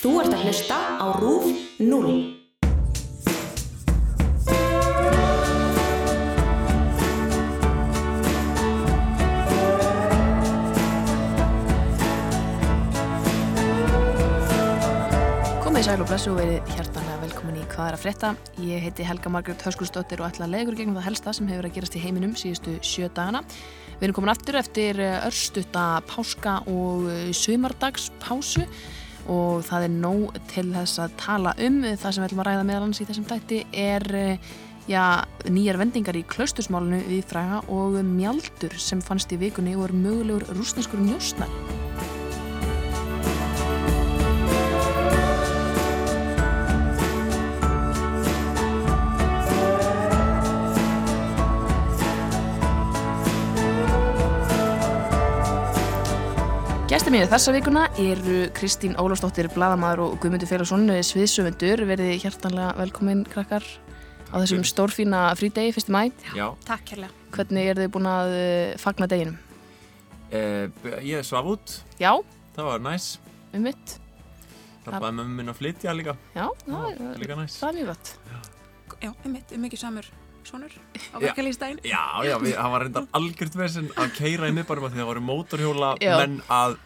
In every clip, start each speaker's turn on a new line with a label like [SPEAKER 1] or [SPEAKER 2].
[SPEAKER 1] Þú ert að hlusta á RÚF 0.
[SPEAKER 2] Komið í sæl og blessu og verið hjartanlega velkomin í Hvað er að frétta? Ég heiti Helga Margrét Höskulsdóttir og ætla að leiða ykkur í gegnum það helsta sem hefur að gerast í heiminum síðustu sjö dagana. Við erum komin aftur eftir eh, örstutta páska og eh, sumardagspásu og það er nóg til þess að tala um. Það sem við ætlum að ræða meðal annars í þessum dætti er eh, já, nýjar vendingar í klaustusmálinu við fræga og mjaldur sem fannst í vikunni og er mögulegur rúsneskur njósnar. Gæstir mínu þessa vikuna eru Kristín Ólafsdóttir, bladamaður og Guðmundur Félagsson, sviðsöfundur. Verðið hjertanlega velkomin, krakkar, á þessum stórfína frídegi, 1. mæ.
[SPEAKER 3] Já,
[SPEAKER 4] Takk hérlega.
[SPEAKER 2] Hvernig er þið búin að eh, fagna deginum?
[SPEAKER 3] eh, b- ég svaf út,
[SPEAKER 2] Já,
[SPEAKER 3] það var næs.
[SPEAKER 2] um mitt.
[SPEAKER 3] Hjálpaði mömmu minn að flytja líka,
[SPEAKER 2] Já, það,
[SPEAKER 3] það var
[SPEAKER 2] er-
[SPEAKER 3] líka næs.
[SPEAKER 2] það er mjög gott.
[SPEAKER 4] Já, einmitt, um mikið samur sonur
[SPEAKER 3] Já.
[SPEAKER 4] á verkalýstæðin.
[SPEAKER 3] Já, já, við, það var reyndar algjört vesinn að keira í miðbærum að því það voru mótorhjóla
[SPEAKER 2] Já.
[SPEAKER 3] menn að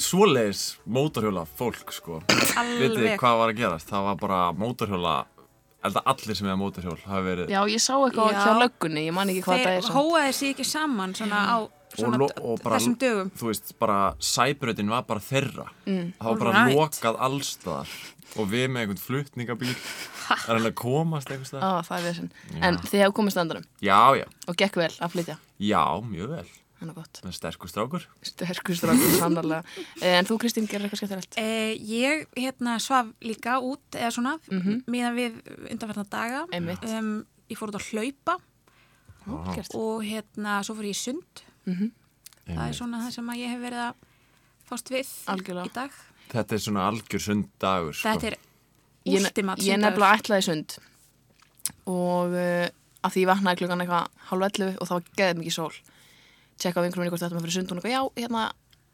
[SPEAKER 3] svoleiðis mótorhjóla fólk, sko. Vitið þið
[SPEAKER 4] Alveg.
[SPEAKER 3] hvað var að gerast? Það var bara mótorhjóla, held að allir sem hefða mótorhjól hafi verið
[SPEAKER 2] Já, ég sá eitthvað
[SPEAKER 4] Já.
[SPEAKER 2] hjá löggunni, ég man ekki hvað það er.
[SPEAKER 4] Þeir
[SPEAKER 2] samt.
[SPEAKER 4] hóaði sig ekki saman svona á svona
[SPEAKER 3] lo- og bara-
[SPEAKER 4] þessum dögum.
[SPEAKER 3] þú veist, bara sæbröðin var bara þeirra mm, það var bara
[SPEAKER 4] alright.
[SPEAKER 3] lokað allstaðar og við með einhvern flutningabíl að reyna að komast einhvers staðar
[SPEAKER 2] Á, það er vesinn. En þið hefðu komið standarum
[SPEAKER 3] já, já,
[SPEAKER 2] og gekk vel að flytja.
[SPEAKER 3] já, mjög vel
[SPEAKER 2] Það er gott.
[SPEAKER 3] Það er sterkur strákur
[SPEAKER 2] Sterkur strákur, sannarlega. Eh, En þú, Kristín, gerir eitthvað skemmtilegt?
[SPEAKER 4] Eh, ég hérna svaf líka út eða svona, mm meðan við undanferðna daga.
[SPEAKER 2] Mhm. Einmitt.
[SPEAKER 4] Em, ég fór út að hlaupa
[SPEAKER 2] Ó, gert.
[SPEAKER 4] og hérna svo fór ég í sund.
[SPEAKER 2] Mhm.
[SPEAKER 4] Það er
[SPEAKER 3] Einmitt.
[SPEAKER 4] svona það sem að ég hef verið að fást við
[SPEAKER 2] Algjörlega.
[SPEAKER 4] í dag.
[SPEAKER 3] Þetta er svona algjör sunddagur sko.
[SPEAKER 4] Þetta er
[SPEAKER 2] Ég ne-
[SPEAKER 4] ultimate
[SPEAKER 2] Ég
[SPEAKER 4] sundagur.
[SPEAKER 2] nefnilega ætlaði í sund og uh, að því ég vaknaði klukkan eitthvað hálf 11 og það var geðið mikið sól tjekka á vinklum minni hvort þetta maður fyrir sund og hún eitthvað, já, hérna,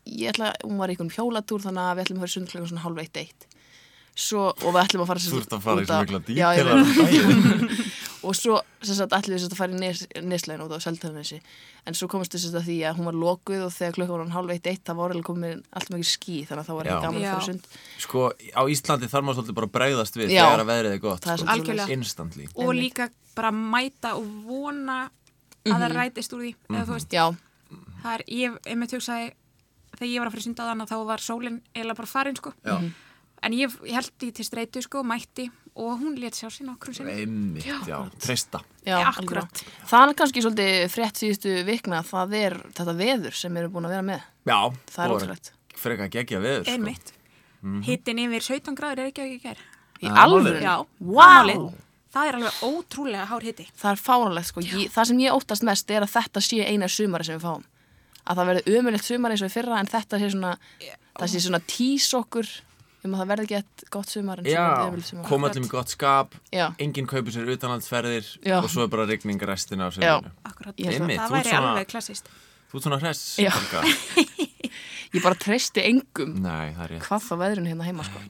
[SPEAKER 2] ég ætla hún var í einhvern hjólatúr þannig að við ætlum að fyrir sund klukkan svona hálf 1 1 Svo, og við ætlum að fara sem
[SPEAKER 3] Þú
[SPEAKER 2] sagt
[SPEAKER 3] ert að fara í
[SPEAKER 2] út
[SPEAKER 3] svona
[SPEAKER 2] að-
[SPEAKER 3] mikla
[SPEAKER 2] Já, ég
[SPEAKER 3] díkela
[SPEAKER 2] veit. og svo sem sagt allir þess að fara í nes, neslegin út á Seltjarnesi en svo komist þess að því að hún var lokuð og þegar klukkan var hann hálf eitt eitt það var alveg komin allt mikið ský þannig að það var
[SPEAKER 3] Já.
[SPEAKER 2] ekki gaman að
[SPEAKER 4] Já.
[SPEAKER 2] fara í sund
[SPEAKER 3] Sko, á Íslandi þarf maður svolítið bara að bregðast við
[SPEAKER 2] Já.
[SPEAKER 3] þegar að veðrið er gott
[SPEAKER 2] Það er
[SPEAKER 3] sko.
[SPEAKER 2] svolítið
[SPEAKER 4] Algjörlega. svoleiðis.
[SPEAKER 3] Instantly
[SPEAKER 4] og líka bara mæta og vona að
[SPEAKER 2] Mhm.
[SPEAKER 4] það rætist úr því
[SPEAKER 3] Mhm.
[SPEAKER 4] eða þú veist,
[SPEAKER 2] Já,
[SPEAKER 4] það er, ég hef einmitt hugsaði þegar ég var að fyrir sunda á þann að þá var sólinn eiginlega bara farin sko
[SPEAKER 3] Já.
[SPEAKER 2] Mhm.
[SPEAKER 4] en ég held því til streitu sko, mætti og hún létt sjá sín okkur um sinni
[SPEAKER 3] Einmitt, já, treysta
[SPEAKER 2] Já,
[SPEAKER 4] Ja,
[SPEAKER 2] algjörlega.
[SPEAKER 4] akkúrat.
[SPEAKER 2] Það er kannski svolítið frétt síðustu vikna, það er þetta veður sem eru búin að vera með.
[SPEAKER 3] Já,
[SPEAKER 2] Það er
[SPEAKER 3] og
[SPEAKER 2] ótrúlegt.
[SPEAKER 3] Frekar gegja veður sko.
[SPEAKER 4] einmitt, hittin yfir 17 gráður er ekki ekki gær
[SPEAKER 2] Í
[SPEAKER 3] Það er
[SPEAKER 2] alvöru?
[SPEAKER 3] málið.
[SPEAKER 4] já,
[SPEAKER 2] Vá!
[SPEAKER 4] málið. það er alveg ótrúlega hár hitti
[SPEAKER 2] Það er fáralegt sko. Ég, það sem ég óttast mest er að þetta sé eina sumari sem við fáum. Að það verði ömulegt sumari eins og í fyrra en þetta sé svona, það sé svona tís okkur um að það verði gett gott sumar en
[SPEAKER 3] Já,
[SPEAKER 2] ömulegt sumar.
[SPEAKER 3] koma allir með gott skap
[SPEAKER 2] Já.
[SPEAKER 3] Enginn kaupir sér utanlandsferðir
[SPEAKER 2] Já.
[SPEAKER 3] Og svo er bara rigning restina af
[SPEAKER 2] Já.
[SPEAKER 3] sérinu
[SPEAKER 4] Akkurat,
[SPEAKER 2] Ég held
[SPEAKER 3] Einmitt,
[SPEAKER 4] það
[SPEAKER 3] þú ert
[SPEAKER 4] væri
[SPEAKER 3] svona-
[SPEAKER 4] alveg klassist
[SPEAKER 3] Þú ert svona hress
[SPEAKER 2] Já.
[SPEAKER 3] Helga.
[SPEAKER 2] Ég bara treysti engum
[SPEAKER 3] Nei, það er rétt
[SPEAKER 2] hvað það veðrun hérna heima sko.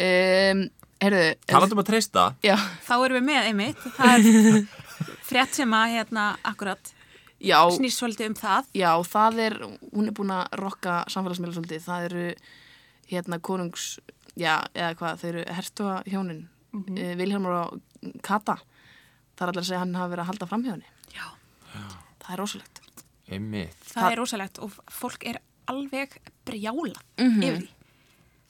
[SPEAKER 2] Um, herðu,
[SPEAKER 3] Talandum um að treysta
[SPEAKER 2] já,
[SPEAKER 4] þá erum við með einmitt það er frétt sem að hérna, akkurat,
[SPEAKER 2] já,
[SPEAKER 4] snýst svolítið um það
[SPEAKER 2] Já, það er, hún er búin að rokka samfélagsmiðla svolítið, það eru hérna konungs, já, eða hvað, þau eru herstoga hjónin, mm
[SPEAKER 4] Mhm.
[SPEAKER 2] Vilhelmur og Kata, það er allir að segja að hann hafi verið að halda fram hjóni,
[SPEAKER 4] já,
[SPEAKER 2] það er rosalegt.
[SPEAKER 3] Einmitt
[SPEAKER 4] það er rosalegt og fólk er alveg brjála
[SPEAKER 2] Mhm.
[SPEAKER 4] yfir því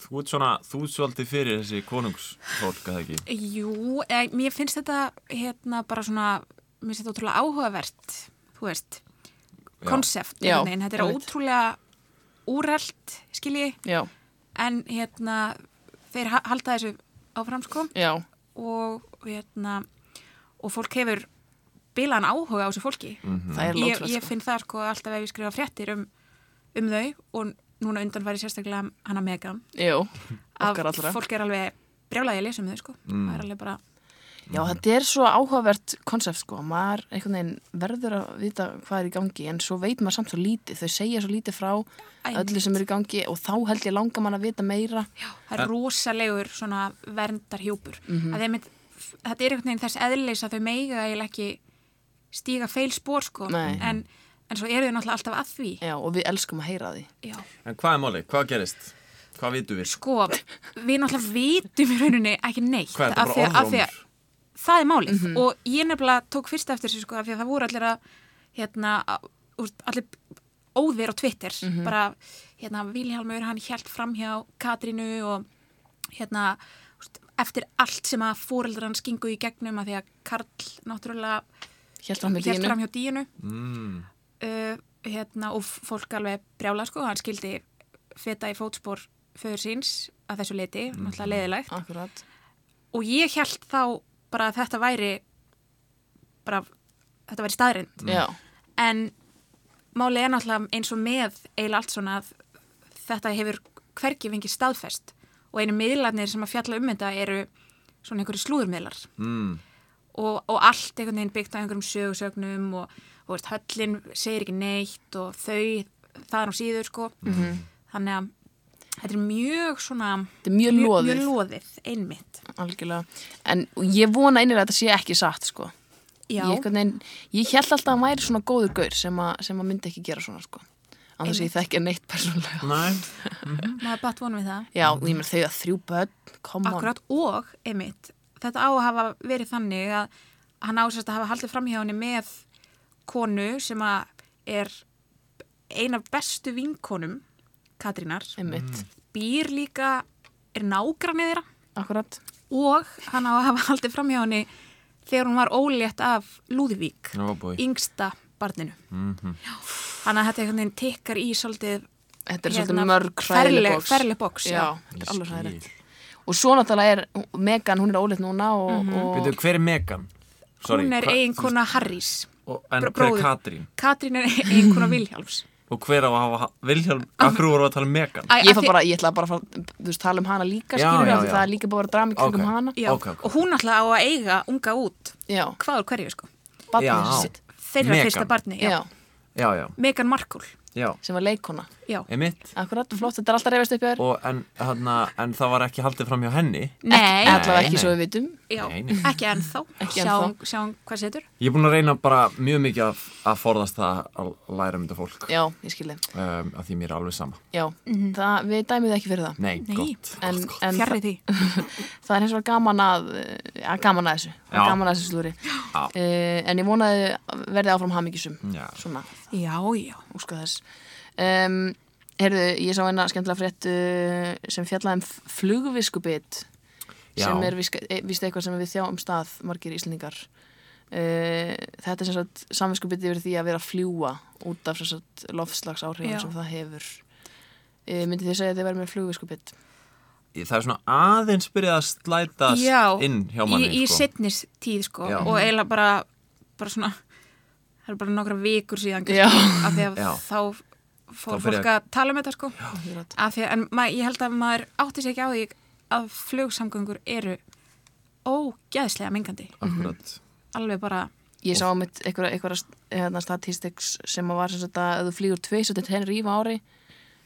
[SPEAKER 3] Þú ert svona, þú ert svolítið fyrir þessi konungsfólk að það ekki
[SPEAKER 4] Jú, eh, mér finnst þetta hérna bara svona, mér finnst þetta ótrúlega áhugavert, þú veist,
[SPEAKER 3] Já.
[SPEAKER 4] konsept,
[SPEAKER 2] Já,
[SPEAKER 4] einhvern veginn. þetta er
[SPEAKER 2] einmitt.
[SPEAKER 4] ótrúlega úrelt, skilji,
[SPEAKER 2] Já,
[SPEAKER 4] en hérna, þeir ha- halda þessu áfram, sko,
[SPEAKER 2] já,
[SPEAKER 4] og hérna, og fólk hefur bilan áhuga á þessu fólki.
[SPEAKER 2] það er
[SPEAKER 4] Ég,
[SPEAKER 2] lótrúlega
[SPEAKER 4] ég finn það, sko, alltaf ef ég skrifa fréttir um, um þau, og núna undan var ég sérstaklega hana Megan,
[SPEAKER 2] Jú,
[SPEAKER 4] að
[SPEAKER 2] okkar allra.
[SPEAKER 4] fólk er alveg brjálægi að lesa um þau, sko, það er alveg bara...
[SPEAKER 2] Já, þetta er svo áhugavert konsept sko, maður einhvern veginn verður að vita hvað er í gangi en svo veit maður samt svo lítið, þau segja svo lítið frá öllu sem er í gangi og þá held ég langa mann að vita meira
[SPEAKER 4] Já, það er rosalegur svona verndarhjúpur. Mm -hmm. mynd, þetta er einhvern veginn þess eðlis að þau meiga eiginlega ekki stíga feil spór sko,
[SPEAKER 2] Nei.
[SPEAKER 4] en, en svo eru þau náttúrulega alltaf að því.
[SPEAKER 2] Já, og við elskum að heyra því
[SPEAKER 4] Já.
[SPEAKER 3] En hvað er málið? Hvað gerist? Hvað vitum við?
[SPEAKER 4] Sko, við náttúrulega vitum í rauninni ekki neitt.
[SPEAKER 3] Hvað er þetta,
[SPEAKER 4] af því
[SPEAKER 3] bara
[SPEAKER 4] að- af því að-
[SPEAKER 3] orðrómur?
[SPEAKER 4] Það er málið og ég nefnilega tók fyrst eftir þessu sko, af því að það voru allir að, hérna, að- úr, allir óðir á Twitter, bara, hérna, Vilhelmur, hann hjælt fram hjá Katrínu og, hérna, úst, eftir allt sem að fóreldrar hans gengu í gegnum af því að Karl náttúrulega
[SPEAKER 2] Hjælt fram með
[SPEAKER 4] hélt
[SPEAKER 2] dínu
[SPEAKER 4] fram hjá díinu
[SPEAKER 3] Mm,
[SPEAKER 4] uh, hérna, og fólk alveg brjála sko, hann skildi feta í fótspor föður síns að þessu liti, náttúrulega leiðilegt
[SPEAKER 2] Ah. Akkurat
[SPEAKER 4] og ég held þá bara að þetta væri bara þetta væri staðrind
[SPEAKER 2] Já,
[SPEAKER 4] en málið er náttúrulega eins og með eiginlega allt svona að þetta hefur hvergi fengið staðfest og einu miðlarnir sem að fjalla um þetta eru svona einhverju slúðurmiðlar
[SPEAKER 3] mm,
[SPEAKER 4] og, og allt einhvern veginn byggt á einhverjum sögusögnum og, og veist, höllin segir ekki neitt og þau það er á síður sko þannig að þetta er mjög svona
[SPEAKER 2] Mhm. Þetta er mjög loðið.
[SPEAKER 4] mjög loðið einmitt
[SPEAKER 2] algjörlega En ég vona einir að þetta sé ekki satt sko
[SPEAKER 4] Já.
[SPEAKER 2] Ég, einhvern veginn, ég held alltaf að maður er svona góður gaur sem, a, sem að myndi ekki gera svona sko Annars að ég þekki hann neitt persónlega
[SPEAKER 3] næ,
[SPEAKER 4] maður batt vonum við það
[SPEAKER 2] Já, og ég mér þau að þrjú börn, come on
[SPEAKER 4] Akkurat og, einmitt, þetta á að hafa verið þannig að hann ásast að hafa haldið framhjá henni með konu sem að er eina af bestu vinkonum Katrínar,
[SPEAKER 2] Einmitt,
[SPEAKER 3] Mm.
[SPEAKER 4] býr líka er nágrannir þeirra
[SPEAKER 2] akkurat
[SPEAKER 4] og hann á að hafa haldið framhjá henni þegar hún var ólétt af Lúðvík,
[SPEAKER 3] Já, boy. Mhm.
[SPEAKER 4] yngsta barninu. Mm Þannig að þetta einhvern veginn tikkar í svolítið
[SPEAKER 2] Þetta er
[SPEAKER 4] Hérna,
[SPEAKER 2] svolítið mörg
[SPEAKER 4] ferleg-
[SPEAKER 2] hræðileg box.
[SPEAKER 4] ferleg box, já.
[SPEAKER 2] þetta er alveg
[SPEAKER 3] Ég
[SPEAKER 2] hræðilegt.
[SPEAKER 3] skil.
[SPEAKER 2] Og svo náttúrulega er Megan, hún er óleitt núna og,
[SPEAKER 4] Mhm.
[SPEAKER 2] og
[SPEAKER 3] Veitu, hver er Megan? Sorry,
[SPEAKER 4] hún er
[SPEAKER 3] hva-
[SPEAKER 4] eiginkona Harrys.
[SPEAKER 3] og, En
[SPEAKER 4] br-
[SPEAKER 3] hver
[SPEAKER 4] bróðir.
[SPEAKER 3] er Katrín?
[SPEAKER 4] Katrín er eiginkona Vilhjálms.
[SPEAKER 3] Og hver á að hafa Vilhjálm? Akkur voru að tala um Megan?
[SPEAKER 4] Æ,
[SPEAKER 2] ég,
[SPEAKER 4] af
[SPEAKER 2] fór
[SPEAKER 4] því-
[SPEAKER 2] bara, ég ætla bara að fara, þú veist, tala um hana líka,
[SPEAKER 3] Já,
[SPEAKER 2] skilur
[SPEAKER 3] já,
[SPEAKER 2] við,
[SPEAKER 3] já.
[SPEAKER 2] það er líka búið að drama í kringum
[SPEAKER 3] Ok.
[SPEAKER 2] hana.
[SPEAKER 4] Já,
[SPEAKER 3] Ok, ok.
[SPEAKER 4] og hún alltaf á að eiga unga út
[SPEAKER 2] Já,
[SPEAKER 4] hvað úr hverju sko
[SPEAKER 2] barnið
[SPEAKER 3] Já.
[SPEAKER 2] sitt.
[SPEAKER 4] þeirra
[SPEAKER 3] Megan.
[SPEAKER 4] fyrsta barni,
[SPEAKER 2] Já,
[SPEAKER 4] já.
[SPEAKER 3] Já, já,
[SPEAKER 4] Megan Markle,
[SPEAKER 3] já,
[SPEAKER 2] sem var leikona.
[SPEAKER 4] já
[SPEAKER 3] emitt
[SPEAKER 2] Akkurat, flott, þetta er alltaf reyfist upp hjá þér.
[SPEAKER 3] Og en, hana, en það var ekki haldið fram hjá henni
[SPEAKER 4] Nei,
[SPEAKER 2] Allavega ekki
[SPEAKER 3] nei.
[SPEAKER 2] svo við vitum.
[SPEAKER 4] já,
[SPEAKER 3] Nei, nei.
[SPEAKER 4] ekki ennþá,
[SPEAKER 2] Ekki
[SPEAKER 4] sjáum, sjáum hvað setur
[SPEAKER 3] Ég er búin að reyna bara mjög mikið að, að forðast það að læra um þetta fólk
[SPEAKER 2] Já, ég skilði.
[SPEAKER 3] um, að því mér er alveg sama
[SPEAKER 2] Já, það, við dæmum það ekki fyrir það.
[SPEAKER 3] Nei,
[SPEAKER 4] Nei.
[SPEAKER 3] Mhm. gott
[SPEAKER 2] En, en
[SPEAKER 4] fjarrri Sko, því
[SPEAKER 2] það er eins og gaman að, eh, að gaman að þessu, að
[SPEAKER 3] Já.
[SPEAKER 2] gaman að þessu slúri.
[SPEAKER 3] Já.
[SPEAKER 2] Uh, en ég vonaði verði áfram hamingisum,
[SPEAKER 3] Já.
[SPEAKER 2] svona.
[SPEAKER 4] já, já,
[SPEAKER 2] óska þess um, Herðu, ég sá eina skemmtilega frétt uh, sem fjallaði um f- flugviskubit
[SPEAKER 3] Já.
[SPEAKER 2] sem er víst eitthvað sem við þjáum um stað margir íslendingar uh, Þetta er sem sagt samviskubit yfir því að vera að fljúa út af sem sagt loftslags
[SPEAKER 4] Já.
[SPEAKER 2] áhrifum sem það hefur uh, Myndi þið segja að þið verið með flugviskubit?
[SPEAKER 3] Það er svona aðeins byrjað að slætast
[SPEAKER 4] já
[SPEAKER 3] inn hjá manni
[SPEAKER 4] í, í
[SPEAKER 3] sko.
[SPEAKER 4] setnis tíð sko
[SPEAKER 3] Já.
[SPEAKER 4] og eiginlega bara, bara svona það er bara nokkra vikur síðan
[SPEAKER 2] Já.
[SPEAKER 4] kannski, af því að
[SPEAKER 3] Já.
[SPEAKER 4] þá fór
[SPEAKER 3] Þá byrja-
[SPEAKER 4] fólk að tala um þetta sko af því að, en mað, ég held að maður átti sér ekki á því að flugsamgöngur eru ógeðslega mengandi
[SPEAKER 3] Akkurat
[SPEAKER 4] alveg bara
[SPEAKER 2] Ég sá um eitthvað, eitthvað hérna, statistics sem að var sem sagt að ef þú flýgur tvis og þetta henni rífa ári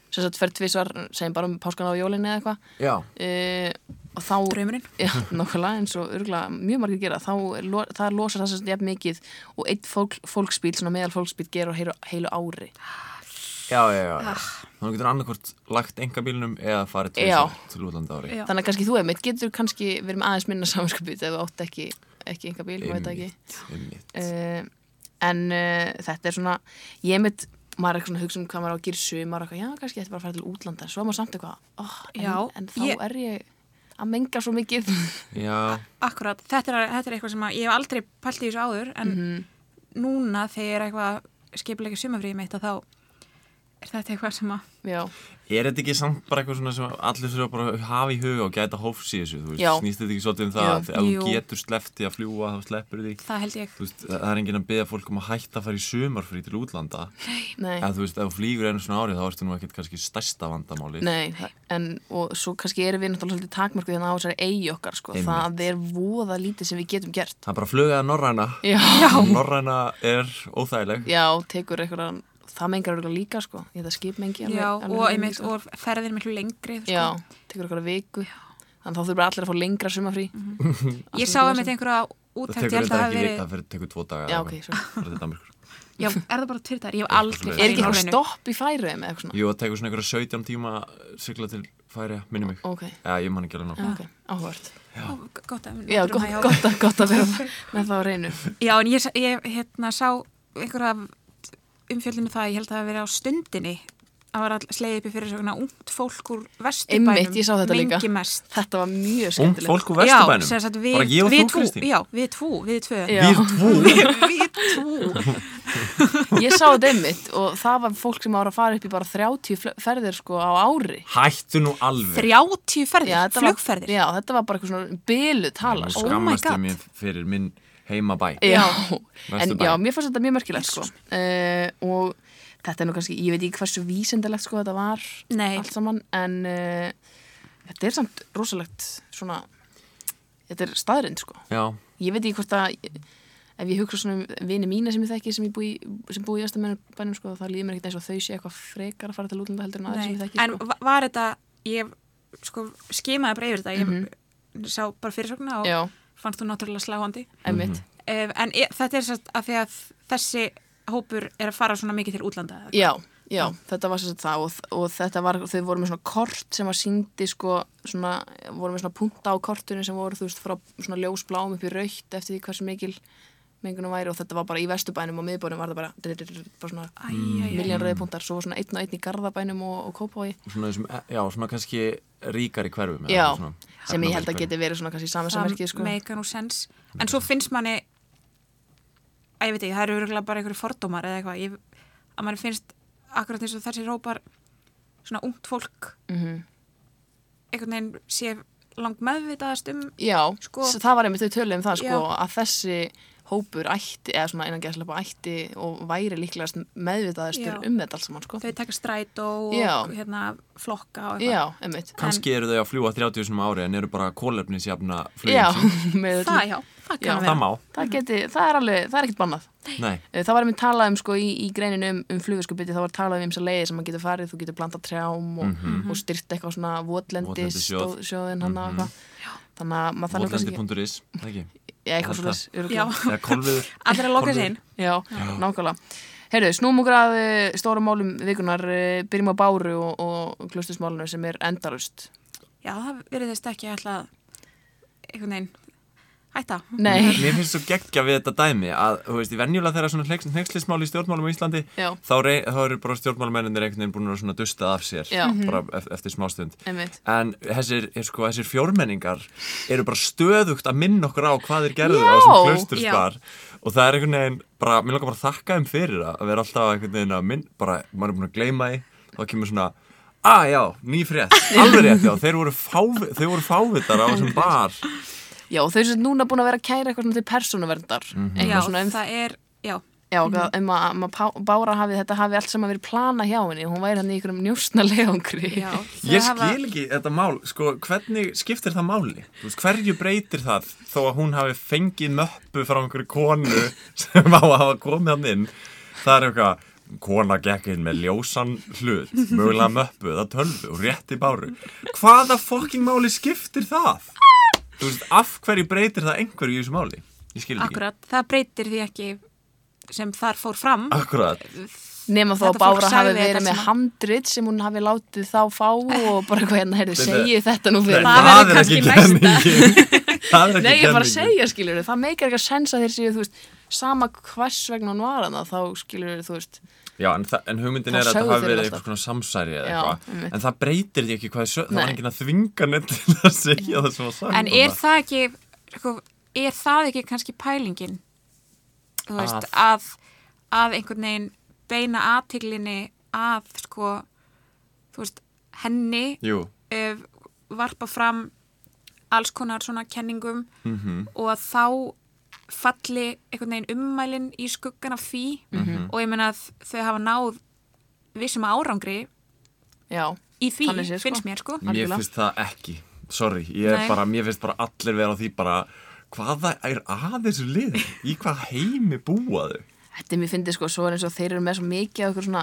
[SPEAKER 2] sem sagt fer tvisvar, segjum bara um páskana á jólinni eða eitthvað
[SPEAKER 3] Já,
[SPEAKER 2] uh, og þá
[SPEAKER 4] draumurinn
[SPEAKER 2] Já, nokkulega eins og örgulega mjög margir gera þá er lo- það losar það sem þetta jafn mikið og eitt fólk, fólksbíl, svona meðal fólksbíl gera á heilu, heilu ári
[SPEAKER 3] já, já, já, já. Þannig getur annarkvort lagt enga bílnum eða farið
[SPEAKER 2] Ah. Já.
[SPEAKER 3] tvisar til útlanda ári
[SPEAKER 4] Já.
[SPEAKER 2] þannig að kannski þú emitt getur kannski verið með aðeins minna samanskapið ef þú átt ekki, ekki enga bíl, maður veit það ekki
[SPEAKER 3] Einmitt.
[SPEAKER 2] uh, en uh, þetta er svona ég emitt, maður er eitthvað svona að hugsa um hvað maður á að gera í sumar og eitthvað, já kannski þetta bara að fara til útlanda en svo er maður samt eitthvað, oh, en,
[SPEAKER 4] Já,
[SPEAKER 2] en þá
[SPEAKER 4] ég-
[SPEAKER 2] er ég að menga svo mikið
[SPEAKER 3] Já,
[SPEAKER 4] Akkurat, þetta er, þetta er eitthvað sem að ég hef aldrei pælt í þessu
[SPEAKER 2] Mhm.
[SPEAKER 4] áður en núna þegar ég er eitthvað skipilega sumafríði mitt að þá er þetta eitthvað sem að
[SPEAKER 2] já,
[SPEAKER 3] Er þetta ekki samt bara eitthvað svona sem allir þurfa bara að hafa í huga og gæta hófs í þessu, þú veist,
[SPEAKER 2] Já.
[SPEAKER 3] snýst þetta ekki svolítið um það
[SPEAKER 2] Jú.
[SPEAKER 3] að ef
[SPEAKER 4] Jú.
[SPEAKER 3] þú getur sleppt í að fljúa þá sleppur því,
[SPEAKER 4] það held ég
[SPEAKER 3] þú veist, það er enginn að beða fólk um að hætta að fara í sumarfrí til útlanda,
[SPEAKER 2] nei,
[SPEAKER 3] en þú veist, ef þú flýgur einu svona árið þá ertu nú ekkert kannski stærsta vandamáli.
[SPEAKER 2] nei það- en, og svo kannski erum við náttúrulega svolítið takmarkuð þannig á þessari eigi okkar, sko,
[SPEAKER 3] Einmitt.
[SPEAKER 2] það er voða lítið sem við getum gert
[SPEAKER 3] Það er bara flugaða norræna,
[SPEAKER 2] já,
[SPEAKER 3] norræna er óþægileg,
[SPEAKER 2] já tekur eitthvað það mengar örugglega líka, sko, ég þetta skip mengi alveg-
[SPEAKER 4] já,
[SPEAKER 2] alveg
[SPEAKER 4] og,
[SPEAKER 2] helmingi,
[SPEAKER 4] einmitt,
[SPEAKER 2] sko.
[SPEAKER 4] og ferðin er miklu lengri þú
[SPEAKER 2] Já, tekur eitthvað viku Þannig þá þurfum allir að fá lengra sumafrí
[SPEAKER 4] sko. ég sá einmitt einhverja
[SPEAKER 3] það
[SPEAKER 4] úttækt ég
[SPEAKER 3] tekur
[SPEAKER 4] held
[SPEAKER 3] þetta
[SPEAKER 4] að hafi
[SPEAKER 3] ekki vita,
[SPEAKER 4] verið
[SPEAKER 3] það fyrir- tekur tvo daga.
[SPEAKER 2] Já,
[SPEAKER 3] eða
[SPEAKER 2] ok,
[SPEAKER 3] eitthvað.
[SPEAKER 2] svo
[SPEAKER 3] Bara til Danmerkur.
[SPEAKER 4] já, er það bara tveir dagar, ég hef aldrei
[SPEAKER 3] svoleiðis.
[SPEAKER 2] Er
[SPEAKER 4] farið
[SPEAKER 2] ekki
[SPEAKER 4] í
[SPEAKER 2] eitthvað
[SPEAKER 4] Norrænu.
[SPEAKER 2] stopp í færiðum eða eitthvað svona?
[SPEAKER 3] Jú, það tekur svona einhverja 17 tíma að sigla til færi, minni mig.
[SPEAKER 2] Ok,
[SPEAKER 3] Já, ég man ekki alveg nóg.
[SPEAKER 2] já, ok, áhugavert
[SPEAKER 4] Ó, gott að
[SPEAKER 2] Já,
[SPEAKER 4] náttúrum
[SPEAKER 2] gott,
[SPEAKER 4] hægja á
[SPEAKER 2] gott, að, gott að vera með það á reynu
[SPEAKER 4] Já, en ég, sa- ég hérna, sá einhverja umfjöldinu það, ég held að það hafi verið á stundinni að var all- slegið uppi fyrir svona ungt fólk úr vesturbænum.
[SPEAKER 2] Einmitt, ég sá þetta líka.
[SPEAKER 4] Mengi mest.
[SPEAKER 2] Þetta var mjög
[SPEAKER 3] Ung
[SPEAKER 2] skemmtilegt
[SPEAKER 3] fólk úr Vesturbænum?
[SPEAKER 4] Já, sem sagt, við,
[SPEAKER 3] bara ég og
[SPEAKER 4] við
[SPEAKER 3] þú,
[SPEAKER 4] tvú,
[SPEAKER 3] Kristín?
[SPEAKER 4] Já, við tvú, við tvö.
[SPEAKER 2] Já.
[SPEAKER 3] Við tvú?
[SPEAKER 4] við tvú.
[SPEAKER 2] Ég sá þetta einmitt og það var fólk sem ára að fara upp í bara 30 fl- ferðir sko á ári
[SPEAKER 3] Hættu nú alveg.
[SPEAKER 4] 30 ferðir,
[SPEAKER 2] já, þetta var-
[SPEAKER 4] flugferðir.
[SPEAKER 2] Já, þetta var bara eitthvað svona bylu tala
[SPEAKER 3] Nú
[SPEAKER 2] sko.
[SPEAKER 4] Oh my
[SPEAKER 3] skammast
[SPEAKER 4] God.
[SPEAKER 3] ég mér fyrir minn heimabæ.
[SPEAKER 2] Já, en
[SPEAKER 3] Vesturbæ.
[SPEAKER 2] já, mér fannst þetta mjög merkilegt sko. uh, og þetta er nú kannski, ég veit ekki hversu vísendilegt sko þetta var
[SPEAKER 4] Nei.
[SPEAKER 2] allt saman, en uh, þetta er samt rosalegt svona, þetta er staðrind sko.
[SPEAKER 3] Já,
[SPEAKER 2] Ég veit ekki hvort að ef ég hugsa svona um vini mína sem ég þekki sem, ég búi, sem búi í Östamennubænum sko, það líður mér ekkert eins og þau sé eitthvað frekar að fara til útlanda heldur en aðeins sem ég
[SPEAKER 4] Nei,
[SPEAKER 2] þekki
[SPEAKER 4] en
[SPEAKER 2] sko.
[SPEAKER 4] va- var þetta, ég sko skimaði bara yfir þetta, ég sá bara fyrirsögna og
[SPEAKER 2] Mhm. Já,
[SPEAKER 4] fannst þú náttúrulega sláandi.
[SPEAKER 2] emmitt
[SPEAKER 4] Um, en e, þetta er satt að því að þessi hópur er að fara svona mikið til útlanda.
[SPEAKER 2] Já, já, þetta var sérst það og, og þetta var, þau voru með svona kort sem að síndi sko, svona, voru með svona punta á kortunni sem voru, þú veist, frá svona ljósblám upp í raukt eftir því hversu mikil mengunum væri og þetta var bara í vesturbænum og miðbænum var það bara, bara svona
[SPEAKER 4] Æ, æ, æ.
[SPEAKER 2] miljón rauði punktar, svo var svona einn og einn í garðabænum og, og kópói,
[SPEAKER 3] svona, þessum, já, svona kannski ríkari hverfum. eða
[SPEAKER 2] já,
[SPEAKER 3] svona
[SPEAKER 2] sem ég held að
[SPEAKER 3] efnaverkari.
[SPEAKER 2] geti verið svona kannski
[SPEAKER 4] Það
[SPEAKER 2] samerkið sko,
[SPEAKER 4] meika nú sens. En svo finnst manni, að ég veit ekki, það eru örgulega bara einhverju fordómar eða eitthvað. Ég- Að manni finnst akkurat eins og þessi hópar, svona ungt fólk,
[SPEAKER 2] Mhm.
[SPEAKER 4] einhvern veginn sé langt meðvitaðast um.
[SPEAKER 2] já,
[SPEAKER 4] Sko-
[SPEAKER 2] s- það var einmitt þau töluð um það sko,
[SPEAKER 4] Já.
[SPEAKER 2] að þessi hópur ætti, eða svona innan gæslepa ætti og væri líklegast meðvitaðastur
[SPEAKER 4] Já.
[SPEAKER 2] um þetta allt saman sko.
[SPEAKER 4] Þau taka strætó og
[SPEAKER 2] Já.
[SPEAKER 4] hérna, flokka og eitthvað.
[SPEAKER 2] Já, einmitt.
[SPEAKER 3] Kannski eru þau að fljúa 30 sinum ári en eru bara kólefnisjafna
[SPEAKER 2] Já,
[SPEAKER 3] flugum.
[SPEAKER 2] með
[SPEAKER 4] Það,
[SPEAKER 2] öllu.
[SPEAKER 4] já, það
[SPEAKER 2] Já.
[SPEAKER 4] kann að
[SPEAKER 3] Það
[SPEAKER 4] vera.
[SPEAKER 3] má.
[SPEAKER 2] Það, geti, það er alveg, það er ekkert bannað.
[SPEAKER 3] Nei.
[SPEAKER 2] Eh, Það var einmitt talað um sko í, í greininu um, um flugurskupiti, það var talað um eins að leiði sem maður getur farið, þú getur blanda trjám og, og styrt eitthvað svona votlendis
[SPEAKER 3] Votlendissjóð.
[SPEAKER 2] sjóðin hann mm -hmm. þannig að maður þarf nú kannski ekki-
[SPEAKER 3] Votlandi.is, það ekki.
[SPEAKER 2] Já, eitthvað
[SPEAKER 3] Allt
[SPEAKER 2] svona
[SPEAKER 3] það.
[SPEAKER 4] Já,
[SPEAKER 2] öruglega.
[SPEAKER 3] Eða kolviður.
[SPEAKER 4] allir að loka sér inn.
[SPEAKER 2] Já, nákvæmlega. Herru, snúum okkur að eh, stórum málum vikunar, eh, byrjum á Báru og, og klustusmálunum sem er endalust.
[SPEAKER 4] Já, það veriðist ekki ætla að einhvern veginn hætta.
[SPEAKER 2] Nei,
[SPEAKER 3] Mér finnst svo geggja við þetta dæmi að, þú veist, í venjulega þegar svona hneikslismál í stjórnmálum á Íslandi,
[SPEAKER 2] Já.
[SPEAKER 3] þá, rey, þá eru bara stjórnmálmennir einhvern veginn búin að svona dusta af sér,
[SPEAKER 2] Já. Mhm.
[SPEAKER 3] bara ef- eftir smástund.
[SPEAKER 2] einmitt.
[SPEAKER 3] En þessir, er, sko, þessir fjórmenningar eru bara stöðugt að minna okkur á hvað þeir gerðu
[SPEAKER 2] Já.
[SPEAKER 3] á þessum klausturspar og það er einhvern veginn, bara, mér langar bara að þakka þeim fyrir það að vera alltaf einhvern veginn að minn, bara, maður er búin að gleyma því, þá kemur svona, að já, ný frétt, alveg rétt, já, þeir voru, fáv, þeir voru fávitar á þessum bar.
[SPEAKER 2] Já, þau sem núna búin að vera að kæra eitthvað svona til persónuverndar,
[SPEAKER 4] Já,
[SPEAKER 2] eitthvað svona um
[SPEAKER 4] það er, já,
[SPEAKER 2] Já,
[SPEAKER 4] Mhm.
[SPEAKER 2] mm -hmm. um að, um að Pá- Bára hafi þetta hafi allt sem að verið plana hjá henni hún væri hann í einhverjum njústna leangri
[SPEAKER 4] já. þau
[SPEAKER 3] Ég
[SPEAKER 4] hafa-
[SPEAKER 3] skil ekki þetta mál, sko, hvernig skiptir það máli? Þú veist, hverju breytir það þó að hún hafi fengið möppu frá einhverju konu sem á að hafa komið hann inn? Það er eitthvað, kona gekk inn með ljósan hlut, mögulega möppu eða tölvu og rétti báru. Hvaða fokkin máli skiptir það? Þú veist, af hverju breytir það einhverju í þessu máli? Ég skil ekki.
[SPEAKER 4] Akkurat, það breytir því ekki sem þar
[SPEAKER 3] Ah,
[SPEAKER 4] fór fram.
[SPEAKER 3] Akkurat.
[SPEAKER 2] nema þó að
[SPEAKER 4] Þetta fólk
[SPEAKER 2] Bára hafi
[SPEAKER 4] sagði
[SPEAKER 2] verið
[SPEAKER 4] þetta
[SPEAKER 2] með
[SPEAKER 4] sem að-
[SPEAKER 2] handrit sem hún hafi látið þá fá og bara hvað hérna heyrðu,
[SPEAKER 3] Þetta-
[SPEAKER 2] segju þetta nú
[SPEAKER 3] Nei,
[SPEAKER 2] fyrir
[SPEAKER 4] það verður kannski næsta.
[SPEAKER 3] kenningin. Það er ekki
[SPEAKER 2] Nei, ég er bara að
[SPEAKER 3] kenningin.
[SPEAKER 2] segja, skilur það meikar eitthvað sens að þeir séu, þú veist sama hvers vegna hún var hana þá skilur þú veist,
[SPEAKER 3] Já, en, þa- en hugmyndin
[SPEAKER 2] Það
[SPEAKER 3] er að það
[SPEAKER 2] sögðu
[SPEAKER 3] hafi
[SPEAKER 2] þeir
[SPEAKER 3] verið
[SPEAKER 2] alltaf.
[SPEAKER 3] eitthvað svona samsæri eða
[SPEAKER 2] Já,
[SPEAKER 3] eitthvað,
[SPEAKER 2] einmitt.
[SPEAKER 3] en það breytir því ekki hvað er sögð, það var
[SPEAKER 2] Nei.
[SPEAKER 3] enginn að þvinga neitt til að segja það sem var sagt.
[SPEAKER 4] En er það ekki, sko, er það ekki kannski pælingin? Þú veist, að, að einhvern veginn beina aðtiglinni að sko, þú veist, henni
[SPEAKER 3] Jú,
[SPEAKER 4] ef, varpa fram alls konar svona kenningum
[SPEAKER 3] mhm,
[SPEAKER 4] og að þá falli einhvern veginn ummælin í skuggan af því
[SPEAKER 3] Mhm.
[SPEAKER 4] og ég meina að þau hafa náð vissum árangri
[SPEAKER 2] já,
[SPEAKER 4] í því,
[SPEAKER 2] Þannig sé, sko.
[SPEAKER 4] finnst mér sko.
[SPEAKER 3] mér
[SPEAKER 2] Algjörlega.
[SPEAKER 3] finnst það ekki Sorry, ég er
[SPEAKER 4] Nei.
[SPEAKER 3] bara, mér finnst bara allir vera á því bara Hvaða er að þessu lið? Í hvað heimi búaðu?
[SPEAKER 2] Þetta er mér fyndið sko, svo er eins og þeir eru með svo mikið af okkur svona,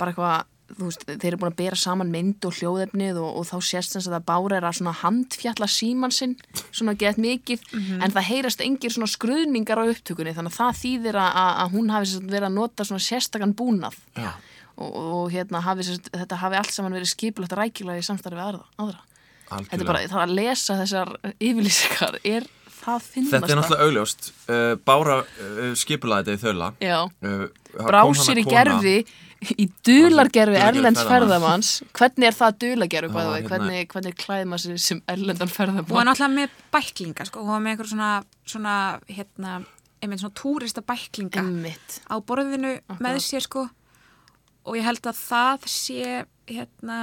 [SPEAKER 2] bara eitthvað, þú veist, þeir eru búin að bera saman mynd og hljóðefnið og, og þá sést þess að það bára er að svona handfjalla síman sinn, svona gett mikið, en það heyrast engir svona skruðningar á upptökunni, þannig að það þýðir að, að að hún hafi sem sagt verið að nota svona sérstakann búnað
[SPEAKER 3] Já.
[SPEAKER 2] og, og, og hérna hafi sem sagt, þetta hafi allt saman verið skipulagt rækilega í samstarfi við aðra. aðra. Þetta er
[SPEAKER 3] Algjörlega.
[SPEAKER 2] bara, það að lesa þessar yfirlýsingar er það finnast
[SPEAKER 3] Þetta er náttúrulega augljóst uh, Bára uh, skipulaði þetta í þöla
[SPEAKER 2] Já.
[SPEAKER 3] uh, það
[SPEAKER 2] brá
[SPEAKER 3] kom
[SPEAKER 2] sér
[SPEAKER 3] hana
[SPEAKER 2] í
[SPEAKER 3] kona-
[SPEAKER 2] gerfi í dulargerfi
[SPEAKER 3] Dulargervi
[SPEAKER 2] erlends
[SPEAKER 3] ferðamanns.
[SPEAKER 2] ferðamanns hvernig er það dulargerfi
[SPEAKER 3] Já,
[SPEAKER 2] bæði
[SPEAKER 3] hérna-
[SPEAKER 2] hvernig, hvernig klæði maður sér sem erlendan
[SPEAKER 4] og
[SPEAKER 2] ferðamann
[SPEAKER 4] náttúrulega með bæklinga sko, og hún var með einhver svona, svona hérna, einmitt svona túrista bæklinga
[SPEAKER 2] emmitt
[SPEAKER 4] á borðinu með sér sko og ég held að það sé hérna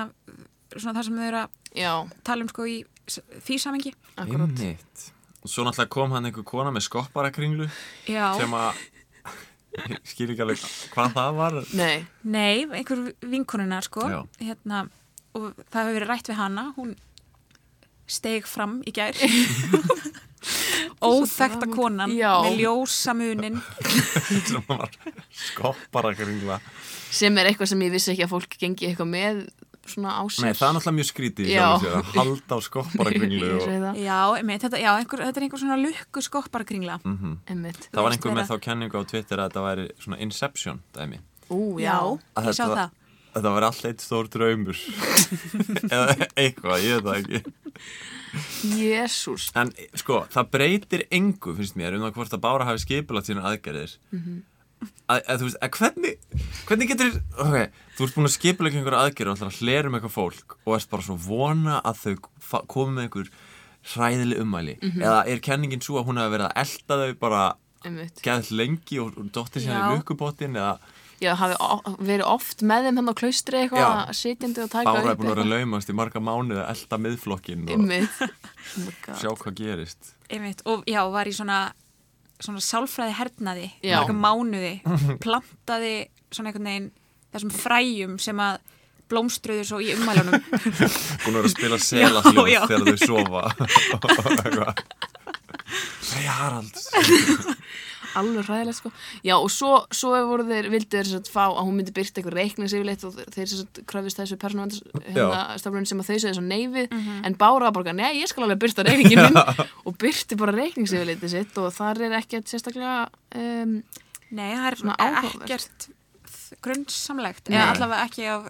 [SPEAKER 4] svona það sem þau eru að
[SPEAKER 2] já,
[SPEAKER 4] tala um sko í s- því samengi
[SPEAKER 2] akkurat
[SPEAKER 3] Einmitt Og svo náttúrulega kom hann einhver kona með skopparakringlu
[SPEAKER 4] Já,
[SPEAKER 3] sem að ég skil ekki alveg hvað það var
[SPEAKER 2] nei,
[SPEAKER 4] nei, einhver vinkonuna sko
[SPEAKER 3] Já.
[SPEAKER 4] hérna, og það hefur verið rætt við hana hún steig fram í gær óþekta konan
[SPEAKER 2] Já.
[SPEAKER 4] með ljósamunin
[SPEAKER 3] sem var skopparakringla
[SPEAKER 2] sem er eitthvað sem ég vissi ekki að fólk gengi eitthvað með svona á sér
[SPEAKER 3] Nei, það er náttúrulega mjög skrítið í
[SPEAKER 2] Já.
[SPEAKER 3] sjálfu sér, að halda á skopparakringlu
[SPEAKER 2] Ég
[SPEAKER 3] og...
[SPEAKER 2] segi það,
[SPEAKER 4] já, einmitt, þetta, já einhver, þetta er einhver svona lukku skopparkringla
[SPEAKER 2] Mhm. emmitt
[SPEAKER 3] Það var einhver með þá kenningu á Twitter að þetta væri svona Inception dæmi
[SPEAKER 2] ú, já,
[SPEAKER 3] Að
[SPEAKER 4] ég sá
[SPEAKER 3] þetta-
[SPEAKER 4] það
[SPEAKER 3] að Þetta var alltaf eitt stór draumur eða eitthvað, ég veit það ekki
[SPEAKER 2] jésús
[SPEAKER 3] En sko, það breytir engu, finnst mér, um það hvort að Bára hafi skipulat sína aðgerðir. að, að þú veist, að hvernig, hvernig getur, ok, þú ert búin að skipulega einhverja aðgerðir og ætlar að hlera um eitthvað fólk og ert bara svo vona að þau fa- komi með einhver hræðileg ummæli. Eða er kenningin svo að hún hafi verið að elda þau bara
[SPEAKER 2] emmitt,
[SPEAKER 3] geðt lengi og, og dottir sína
[SPEAKER 4] Já.
[SPEAKER 3] í lukkubottin eða
[SPEAKER 2] já, hafi o- verið oft með þeim hann á klaustri
[SPEAKER 3] Já.
[SPEAKER 2] eitthvað, sitjandi og taka
[SPEAKER 3] Bára er búin að vera að laumast í marga mánuði að elda miðflokkin og
[SPEAKER 2] emmitt oh my god.
[SPEAKER 3] sjá hvað gerist.
[SPEAKER 4] Einmitt, og já, var í svona, svona sálfræði hernaði,
[SPEAKER 2] Já.
[SPEAKER 4] marga mánuði, plantaði svona einhvern veginn þessum fræjum sem að blómstruðu svo í ummælunum.
[SPEAKER 3] búin að vera að spila selahljóð
[SPEAKER 4] Já, já.
[SPEAKER 3] þegar þau sofa og eitthvað Frey Haralds
[SPEAKER 2] alveg ræðilega sko já og svo, svo voru þeir, vildu þeir sem sagt, fá að hún myndi byrta eitthvað reiknings yfirleitt og þeir sem sagt, kröfist þessu persónavendastaflun sem að þau segja svo neyfið en Bára var bara, eitthvað, nei ég skal alveg byrta reikningin minn og byrti bara reiknings yfirleitt sitt og þar er ekkert sérstaklega um,
[SPEAKER 4] Nei, það er
[SPEAKER 2] Svona áhugavert.
[SPEAKER 4] ekkert grunnsamlegt,
[SPEAKER 3] Nei.
[SPEAKER 4] eða allavega ekki af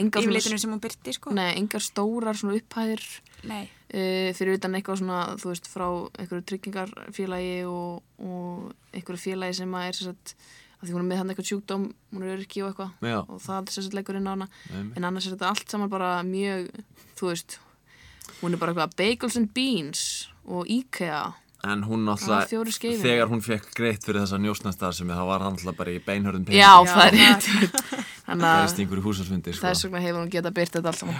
[SPEAKER 2] engar,
[SPEAKER 4] yfirleitinu
[SPEAKER 2] svona,
[SPEAKER 4] sem hún byrti, sko.
[SPEAKER 2] nei, engar stórar svona upphæðir
[SPEAKER 4] Nei.
[SPEAKER 2] uh, fyrir utan eitthvað svona, þú veist, frá einhverju tryggingarfélagi og, og einhverju félagi sem að er sem sagt, að því hún er með hann eitthvað sjúkdóm, hún er örki og eitthvað
[SPEAKER 3] Já,
[SPEAKER 2] og það er sérstætt leikur inn á hana
[SPEAKER 3] Einmitt.
[SPEAKER 2] en annars er þetta allt saman bara mjög þú veist, hún er bara eitthvað bagels and beans og IKEA
[SPEAKER 3] en hún
[SPEAKER 2] Það var fjórir
[SPEAKER 3] náttúrulega
[SPEAKER 2] skeiðin.
[SPEAKER 3] þegar hún fekk greitt fyrir þessa njósnastar sem það var hann náttúrulega bara í beinhörðum
[SPEAKER 2] já, það er rétt þannig að
[SPEAKER 3] gerist í einhverju húsarsfundi sko.
[SPEAKER 2] þess vegna hefur hún geta byrt þetta allt saman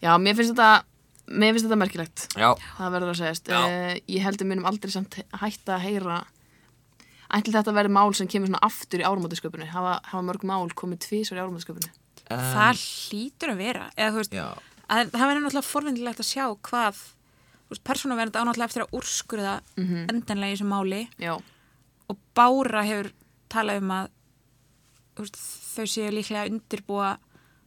[SPEAKER 2] já, mér finnst þetta mér finnst þetta merkilegt,
[SPEAKER 3] Já,
[SPEAKER 2] það verður að segjast
[SPEAKER 3] Já.
[SPEAKER 2] uh, ég held að munum aldrei samt hætta að heyra ætli þetta verði mál sem kemur svona aftur í árumótisköpunni hafa, hafa mörg mál komið tvísar í árumótisköpunni
[SPEAKER 3] um,
[SPEAKER 4] Það hlýtur að vera, eða þú veist,
[SPEAKER 3] Já,
[SPEAKER 4] að, það verður náttúrulega forvindilegt að sjá hvað, þú veist, persónuvernd á náttúrulega eftir að úrskurða
[SPEAKER 3] Mhm.
[SPEAKER 4] endanlega í þessu máli.
[SPEAKER 2] já,
[SPEAKER 4] og Bára hefur talað um að þú veist, þau séu líklega að undirbúa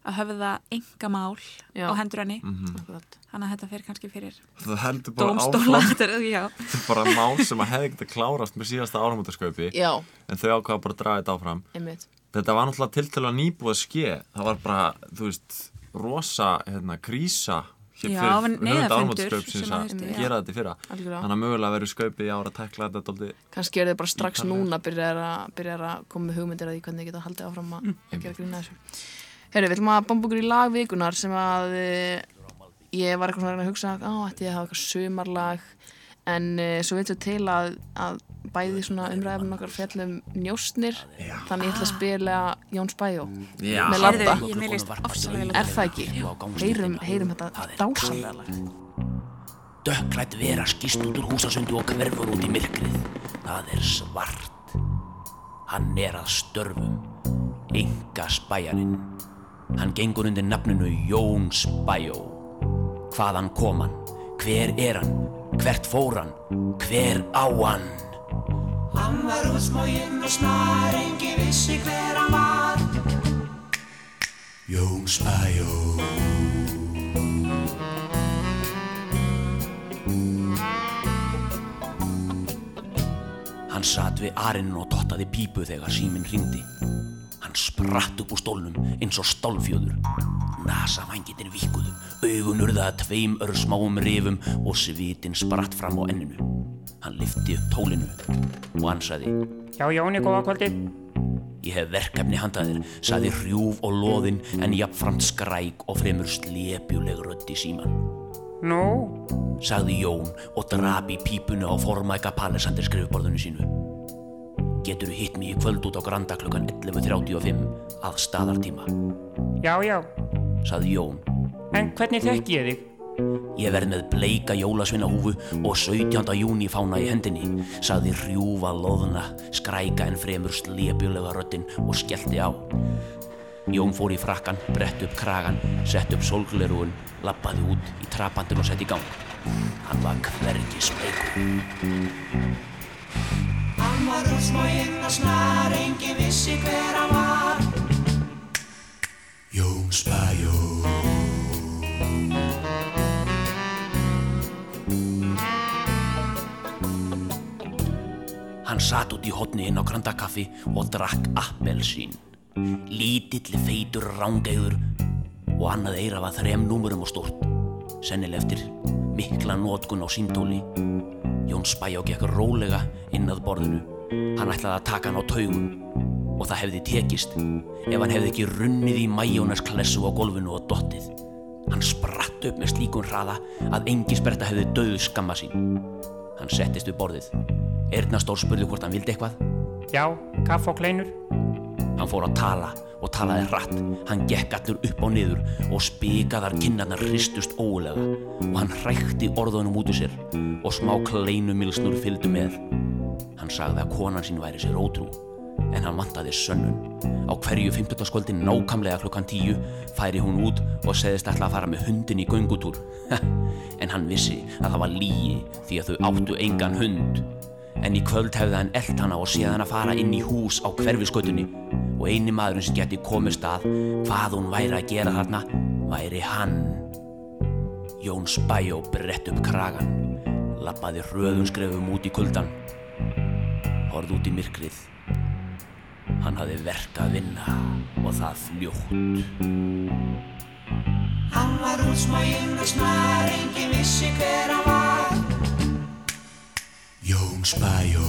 [SPEAKER 4] að höfða enga mál
[SPEAKER 2] Já.
[SPEAKER 4] á hendur henni
[SPEAKER 2] akkurat
[SPEAKER 4] þannig að þetta fer kannski fyrir
[SPEAKER 3] það heldur Mhm. bara
[SPEAKER 4] dómstóla
[SPEAKER 3] áfram
[SPEAKER 4] þetta er- já.
[SPEAKER 3] Þetta er bara mál sem að hefði getið klárast með síðasta áramótasköpi
[SPEAKER 2] já,
[SPEAKER 3] en þau ákvaða bara að draga þetta áfram
[SPEAKER 2] einmitt
[SPEAKER 3] Þetta var náttúrulega tiltölu að nýbúið að ske það var bara, þú veist, rosa hérna, krísa hér
[SPEAKER 4] Já,
[SPEAKER 3] fyrir
[SPEAKER 4] en
[SPEAKER 3] höfunda
[SPEAKER 4] neyðarfundur
[SPEAKER 3] áramótaskaupsins
[SPEAKER 4] sem að
[SPEAKER 3] að
[SPEAKER 4] þurfti, já.
[SPEAKER 3] gera þetta í fyrra
[SPEAKER 2] Algjörlega.
[SPEAKER 3] þannig að mögulega verður skaupið í ára að tekla þetta dóldi
[SPEAKER 2] kannski eru þið bara strax
[SPEAKER 3] Ítarlega.
[SPEAKER 2] núna byrjar að, byrjar að koma með hugmyndir að því hvernig þið geta haldið áfram að að gera grína þessu Herru, við ætlum að bomba okkur í lagvikunar sem að eh, ég var eh, eitthvað svona að reyna að hugsa á, ætti ég að hafa eitthvað sumarlag en uh, svo veitum til að, að bæði svona umræðum okkar fjallum njóstnir
[SPEAKER 3] Já.
[SPEAKER 2] þannig ég ætla að spila Jóns Bæjó
[SPEAKER 3] Já.
[SPEAKER 2] með labba
[SPEAKER 4] Heyrðu, ég mér leist ofsalega vel á
[SPEAKER 2] Er það ekki? Heyrum, heyrum þetta dásamlega lag.
[SPEAKER 5] Dökklætt vera skýst út úr húsasundu og hverfur út í myrkrið. Það er svart. Hann er að störfum. Enga spæjarinn. Hann gengur undir nafninu Jón Spæjó. Hvaðan kom hann? Hver er hann? Hvert fór hann? Hver á hann?
[SPEAKER 6] Hann var útsmóginn og snar, engi vissi hver hann var.
[SPEAKER 5] Jón Spæjó. Hann satt við arinn og dottaði pípu þegar síminn ringdi. Hann spratt upp úr stólnum eins og stálfjöður. Nasavangitin vikuðu, augun urða að tveim örsmáum rifum og svitin spratt fram á enninu. Hann lyfti upp tólinu og hann sagði
[SPEAKER 7] Já, Jóni, góða kvöldi.
[SPEAKER 5] Ég hef verkefni handaðir, saði hrjúf og loðinn en jafnframt skræk og fremur slepjuleg rödd í síman.
[SPEAKER 7] Nú,
[SPEAKER 5] Sagði Jón og drap í pípunu á formæka Palisandir skrifborðinu sínu. Getur hitt mig í kvöld út á Granda klukkan 11.35 að staðartíma,
[SPEAKER 7] já, já.
[SPEAKER 5] sagði Jón.
[SPEAKER 7] En hvernig þekki ég þig?
[SPEAKER 5] Ég verð með bleika jólasvinnahúfu og 17. júni fána í hendinni, sagði hrjúfa loðuna, skræka en fremur slepjulega röddinn og skellti á. Jón fór í frakkan, brett upp kragan, sett upp sólglerugun, lappaði út í trapandin og sett í gang. Hann var hvergi smeykur.
[SPEAKER 6] Hann var útsmóginn og snar, engi vissi hver hann var.
[SPEAKER 5] Jón spæjó. Hann satt út í hotni inn á grandakaffi og drakk appelsín. Lítill, feitur, rángeigur og annað eira var þrem númurum og stórt. Sennileg eftir mikla nótkun á síntóli. Jón Spæjó gekk rólega inn að borðinu. Hann ætlaði að taka hann á taugum og það hefði tekist ef hann hefði ekki runnið í majónas klessu á golfinu og dottið. Hann spratt upp með slíkun hraða að engi sperta hefði döðu skamma sín. Hann settist við borðið. Erna spurði hvort hann vildi eitthvað.
[SPEAKER 7] Já, kaff og kleinur.
[SPEAKER 5] Hann fór að tala og talaði hratt. Hann gekk allur upp og niður og spikaðar kinnarnar hristust ólega og hann hrækti orðunum út úr sér og smá kleinumilsnur fylgdu með. Hann sagði að konan sín væri sér ótrú en hann vantaði sönnun. Á hverju 15. skvöldin nákamlega klukkan 10 færi hún út og segðist alltaf að fara með hundin í göngutúr. en hann vissi að það var lígi því að þau áttu engan hund. En í kvöld hefði hann eld hana og séð hann að fara inn í hús á hverfiskötunni og eini maðurinn sem geti komist að hvað hún væri að gera þarna væri hann. Jón Spæjó brett upp kragan, lappaði röðum skrefum út í kuldan, horfði út í myrkrið. Hann hafði verk að vinna og það fljótt.
[SPEAKER 6] Hann var útsmóginn og snar, engi vissi hver hann var.
[SPEAKER 5] Jón Spæjó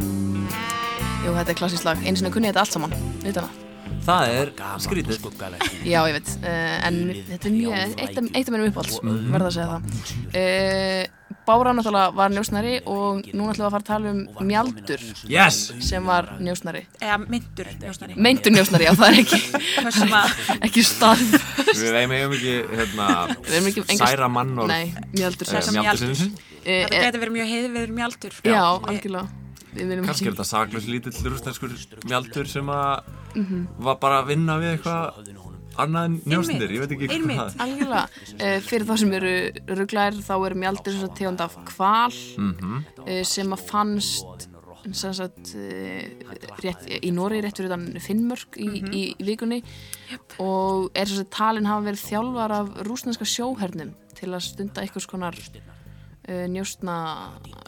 [SPEAKER 2] Jú, þetta er klassískt lag. Einu sinni kunni ég þetta allt saman, utan að.
[SPEAKER 3] Það er
[SPEAKER 5] Gaman og
[SPEAKER 3] skrítið
[SPEAKER 5] skuggalegt.
[SPEAKER 2] Já, ég veit. Uh, en þetta er mjög, eitt af, eitt af mínum uppáhalds, verða að segja það. Uh, Bára náttúrulega var njósnari og núna ætlum við að fara að tala um mjaldur
[SPEAKER 3] Yes!
[SPEAKER 2] sem var njósnari.
[SPEAKER 4] Eða myndur, njósnari.
[SPEAKER 2] Meintur njósnari, já, það er ekki,
[SPEAKER 4] Það sem að,
[SPEAKER 2] ekki starf.
[SPEAKER 3] Við eigum eigum ekki,
[SPEAKER 2] Við erum ekki-
[SPEAKER 3] hérna,
[SPEAKER 2] engar-
[SPEAKER 3] særa Eh, mann og
[SPEAKER 2] Nei, mjaldur
[SPEAKER 4] Særa
[SPEAKER 2] sem.
[SPEAKER 4] mann.
[SPEAKER 3] mjaldusinn.
[SPEAKER 2] Uh,
[SPEAKER 3] eh.
[SPEAKER 4] þetta getur verið mjög heiðverður mjaldur. Eh,
[SPEAKER 2] já, algjörlega. Við viljum
[SPEAKER 3] Kannski er þetta saklaus lítill rústenskur mjaldur sem að
[SPEAKER 4] Mhm.
[SPEAKER 3] var bara að vinna við eitthvað annað en njósnir, ég veit ekki hvað
[SPEAKER 4] Einmitt,
[SPEAKER 3] það er.
[SPEAKER 2] Algjörlega, uh, fyrir þá sem eru rugglæðir þá er mjaldur þess að tegund af kval
[SPEAKER 3] Mhm.
[SPEAKER 2] eh, sem að fannst sem sagt, uh, rétt, í Nóri rétt fyrir utan Finnmörk í, í, í vikunni og er þess að talin hafa verið þjálfar af rúsneska sjóhernum til að stunda einhvers konar uh, njóstna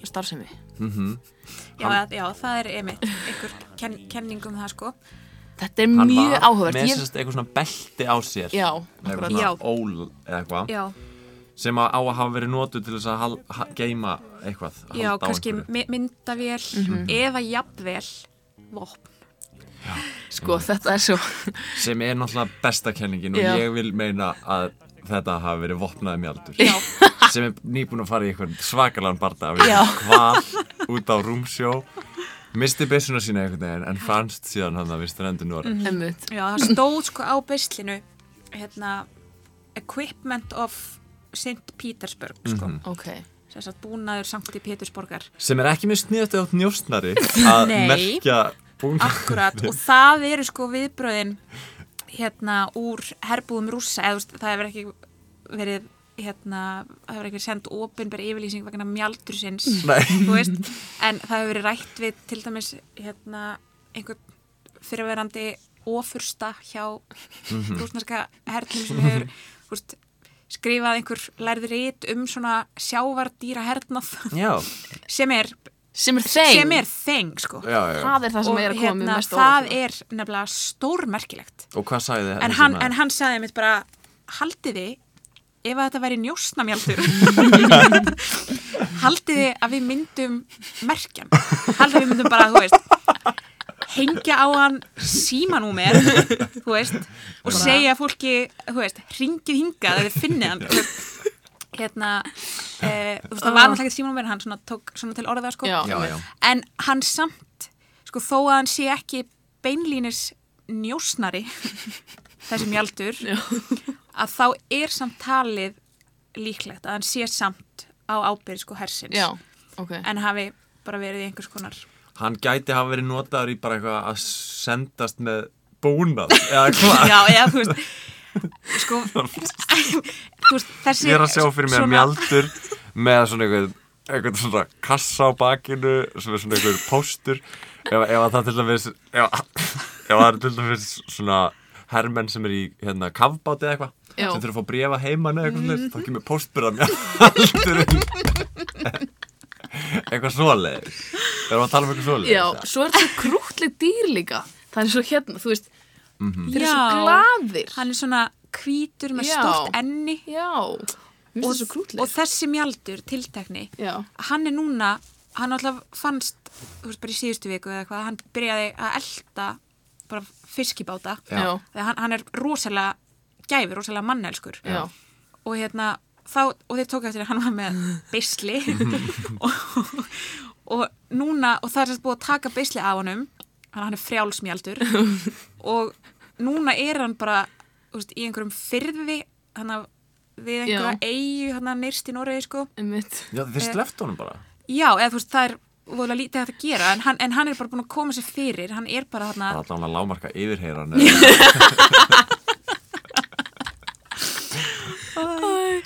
[SPEAKER 2] starfsemi
[SPEAKER 4] Já, að- já, það er einmitt, einhver ken, kenning um það sko.
[SPEAKER 2] Þetta er mjög áhugavert
[SPEAKER 3] með
[SPEAKER 2] Ég-
[SPEAKER 3] sérst eitthvað svona belti á sér.
[SPEAKER 2] Já,
[SPEAKER 3] Með eitthvað
[SPEAKER 2] akkurat.
[SPEAKER 3] svona
[SPEAKER 4] Já.
[SPEAKER 3] ól eða eitthvað.
[SPEAKER 4] Já,
[SPEAKER 3] Sem að á að hafa verið notuð til þess að hal, ha, geima eitthvað. að
[SPEAKER 4] já
[SPEAKER 3] halda á
[SPEAKER 4] kannski
[SPEAKER 3] einhverju.
[SPEAKER 4] mi- myndavél eða jafnvel vopn.
[SPEAKER 2] sko, þetta er svo
[SPEAKER 3] Sem er náttúrulega besta kenningin og
[SPEAKER 2] Já.
[SPEAKER 3] ég vil meina að þetta hafi verið vopnaði mjaldur.
[SPEAKER 4] Já,
[SPEAKER 3] sem er nýbúin að fara í einhvern svakalan barda
[SPEAKER 2] Já.
[SPEAKER 3] hvað út á rúmsjó misti byssuna sína einhvern veginn en fannst síðan hann að við strendur Noreg
[SPEAKER 4] Mhm.
[SPEAKER 2] Einmitt.
[SPEAKER 4] Já, það stóð sko á beislinu hérna Equipment of St. Petersburg sko.
[SPEAKER 3] Mhm.
[SPEAKER 4] mm
[SPEAKER 2] Ok,
[SPEAKER 4] sem sagt búnaður Sankt Pétursborgar
[SPEAKER 3] sem er ekki með sniðast átt njóstnari að
[SPEAKER 4] Nei. Ah.
[SPEAKER 3] merkja búin
[SPEAKER 4] Akkurat, og það eru sko viðbröðin hérna úr herbúðum rússa, eða þú veist, það hefur ekki verið hérna, það hefur ekki verið send opinber yfirlýsing vegna mjaldursins
[SPEAKER 3] Nei.
[SPEAKER 4] þú veist, en það hefur verið rætt við til dæmis hérna einhvern fyrirverandi ofursta hjá rúsnarska hernum sem hefur þú veist, skrifað einhver lærður ít um svona sjávardýra hernað
[SPEAKER 3] já,
[SPEAKER 4] sem er
[SPEAKER 2] sem er þeim
[SPEAKER 4] sem er þeng sko
[SPEAKER 3] já, já.
[SPEAKER 2] Það er það sem er að koma mér mest á
[SPEAKER 4] hérna, það
[SPEAKER 2] óvart.
[SPEAKER 4] er nefnilega stórmerkilegt
[SPEAKER 3] og hvað sagði þið
[SPEAKER 4] en hann, en hann sagði mitt bara haldiði ef að þetta væri njósnamjaldur haldiði að við myndum merkjan haldiði að við myndum bara, þú veist hengja á hann símanúmer þú veist og segja fólki, þú veist, ringið hingað eða þið finnið hann þú veist. hérna eh, þú veist, það var náttúrulega ekki símanúmer hann svona tók svona til orða sko
[SPEAKER 2] Já.
[SPEAKER 3] Já, já.
[SPEAKER 4] en hann samt sko þó að hann sé ekki beinlínis njósnari þessi mjaldur að þá er samt talið líklegt að hann sé samt á ábyrð sko hersins
[SPEAKER 2] Já, ok
[SPEAKER 4] en hafi bara verið í einhvers konar
[SPEAKER 3] hann gæti hafa verið notaður í bara eitthvað að sendast með búnað eða hvað
[SPEAKER 4] já, já, þú veist sko þú veist, þessi
[SPEAKER 3] ég er að sjá fyrir mér
[SPEAKER 4] svona-
[SPEAKER 3] mjaldur með svona einhvern einhvern svona kassa á bakinu sem er svona einhvern póstur ef, ef að það til dæmis ef, ef að það er til dæmis svona hermenn sem er í hérna kafbáti eða eitthvað
[SPEAKER 2] Já.
[SPEAKER 3] sem þurfa að fá bréfa heimann eða eitthvað mm. þá kemur póstbyrðan mjaldurinn eitthvað svoleiðis við erum að tala um eitthvað svoleiðis
[SPEAKER 2] Já, svo er þetta krútleg dýr líka Það er svo hérna, þú veist Þeir eru svo
[SPEAKER 4] Já.
[SPEAKER 2] glaðir
[SPEAKER 4] hann er svona hvítur með
[SPEAKER 2] Já.
[SPEAKER 4] stórt enni
[SPEAKER 2] Já, mér finnst það svo
[SPEAKER 4] og,
[SPEAKER 2] krútleg
[SPEAKER 4] og þessi mjaldur tiltekni
[SPEAKER 2] Já.
[SPEAKER 4] hann er núna hann alltaf fannst þú veist bara í síðustu viku eða hvað hann byrjaði að elda bara fiskibáta
[SPEAKER 2] Já. Já.
[SPEAKER 4] þegar hann, hann er rosalega gæfi, rosalega mannelskur
[SPEAKER 2] Já.
[SPEAKER 4] og hérna þá, og þeir tók eftir að hann var með beisli og, og núna, og það er sérst búið að taka beisli af honum, hann, hann er frjálsmjaldur og núna er hann bara úst, í einhverjum fyrði hann af við einhverja eigu hann nyrst í Noregi sko
[SPEAKER 2] Einmitt.
[SPEAKER 3] Já, þeir sleft honum bara
[SPEAKER 4] Já, eða þú veist, það er voðalega lítið hægt að gera en hann, en hann er bara búin að koma sér fyrir hann er bara
[SPEAKER 3] það er
[SPEAKER 4] þarna,
[SPEAKER 3] alltaf hann að lámarka yfirheyran eða- er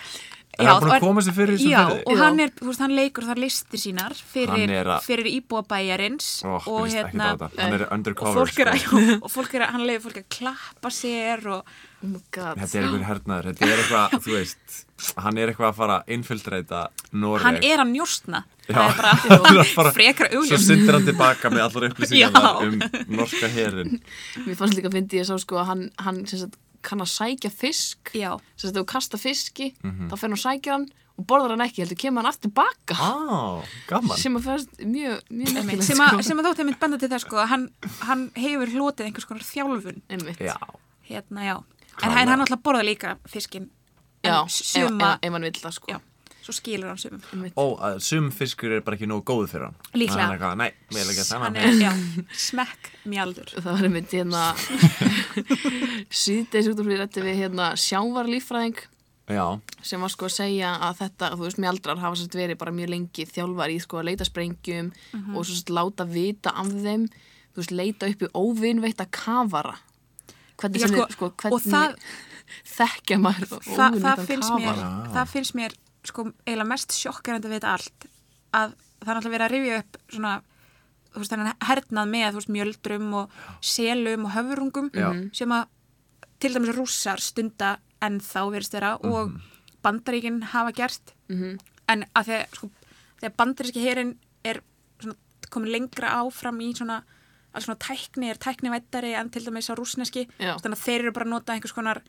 [SPEAKER 4] Já,
[SPEAKER 3] hann búin
[SPEAKER 4] og-
[SPEAKER 3] að koma sér fyrir þessum
[SPEAKER 4] já,
[SPEAKER 3] fyrir
[SPEAKER 4] og hann er, þú veist, hann leikur þar listir
[SPEAKER 3] Hann
[SPEAKER 4] sínar fyrir,
[SPEAKER 3] er að-
[SPEAKER 4] fyrir íbúabæjarins
[SPEAKER 3] Ó,
[SPEAKER 4] og hérna
[SPEAKER 3] byrjist ekki á þetta. hann er
[SPEAKER 4] og
[SPEAKER 3] undercover
[SPEAKER 4] fólk er að,
[SPEAKER 3] sko.
[SPEAKER 4] já, og fólk er að, hann leiður fólk að klappa sér og,
[SPEAKER 2] Oh my god
[SPEAKER 3] þetta er einhver hernaður, þetta er eitthvað þú veist, hann er eitthvað að fara að infiltreita Noreg
[SPEAKER 4] hann er að njóstna það
[SPEAKER 3] Já.
[SPEAKER 4] er bara,
[SPEAKER 3] bara-
[SPEAKER 4] frekar
[SPEAKER 3] svo
[SPEAKER 4] augljóst
[SPEAKER 3] syndir hann tilbaka með allar
[SPEAKER 4] Já.
[SPEAKER 3] upplýsingar um norska herin
[SPEAKER 2] Mér fannst líka að fyndi ég sá sko að hann, hann sem sagt, kann að sækja fisk
[SPEAKER 4] Já.
[SPEAKER 2] Sem sagt, ef þú kasta fiski,
[SPEAKER 3] Mhm.
[SPEAKER 2] þá fer hann og sækja hann og borðar hann ekki, heldur kemur hann aftur baka
[SPEAKER 3] á, gaman
[SPEAKER 2] sem að fannst mjög, mjög sko. nefnilegt
[SPEAKER 4] sem, að, sem að þótti að mynd benda til það sko að hann, hann hefur hlotið einhvers konar þjálfun
[SPEAKER 2] Einmitt
[SPEAKER 3] já,
[SPEAKER 4] hérna, já, en hann, hann alltaf borða líka fiskin
[SPEAKER 2] Já,
[SPEAKER 4] en suma,
[SPEAKER 2] ef, ef, ef hann vill það sko
[SPEAKER 4] já, svo skilur hann sumum
[SPEAKER 3] ó, að sum fiskur er bara ekki nógu góð fyrir hann
[SPEAKER 4] Líklega.
[SPEAKER 3] hann er eitthvað, nei, við erum ekki að
[SPEAKER 4] hann
[SPEAKER 3] það
[SPEAKER 4] er, já, smekk mjaldur
[SPEAKER 2] það var einmitt hérna síðdeis út af því rætti við hérna sjávarlíffræðing
[SPEAKER 3] já,
[SPEAKER 2] sem var sko að segja að þetta, þú veist, mjaldrar hafa sérst verið bara mjög lengi þjálfar í sko að leita sprengjum
[SPEAKER 4] Mhm.
[SPEAKER 2] og svo sérst láta vita af þeim, þú veist, leita upp í óvinveitta kafara hvernig
[SPEAKER 4] Já,
[SPEAKER 2] sem
[SPEAKER 4] sko,
[SPEAKER 2] þið, sko,
[SPEAKER 4] og
[SPEAKER 2] hvernig
[SPEAKER 4] það-
[SPEAKER 2] þekkja maður
[SPEAKER 4] Þa, það,
[SPEAKER 2] óvinveittan
[SPEAKER 4] finnst
[SPEAKER 2] kafara
[SPEAKER 4] mér, það finnst mér sko eiginlega mest sjokkarandi við þetta allt að það er alltaf verið að rifja upp svona, þú veist, þannig hernað með þú veist, mjöldrum og selum og höfurungum
[SPEAKER 3] Já.
[SPEAKER 4] sem að til dæmis rússar stunda en þá verist þeirra og bandaríkin hafa gert en að þegar, sko, þegar bandaríski herin er svona, komin lengra áfram í svona, alls svona tækni er tæknivættari en til dæmis á rússneski
[SPEAKER 2] Já.
[SPEAKER 4] þannig að þeir eru bara að nota einhvers konar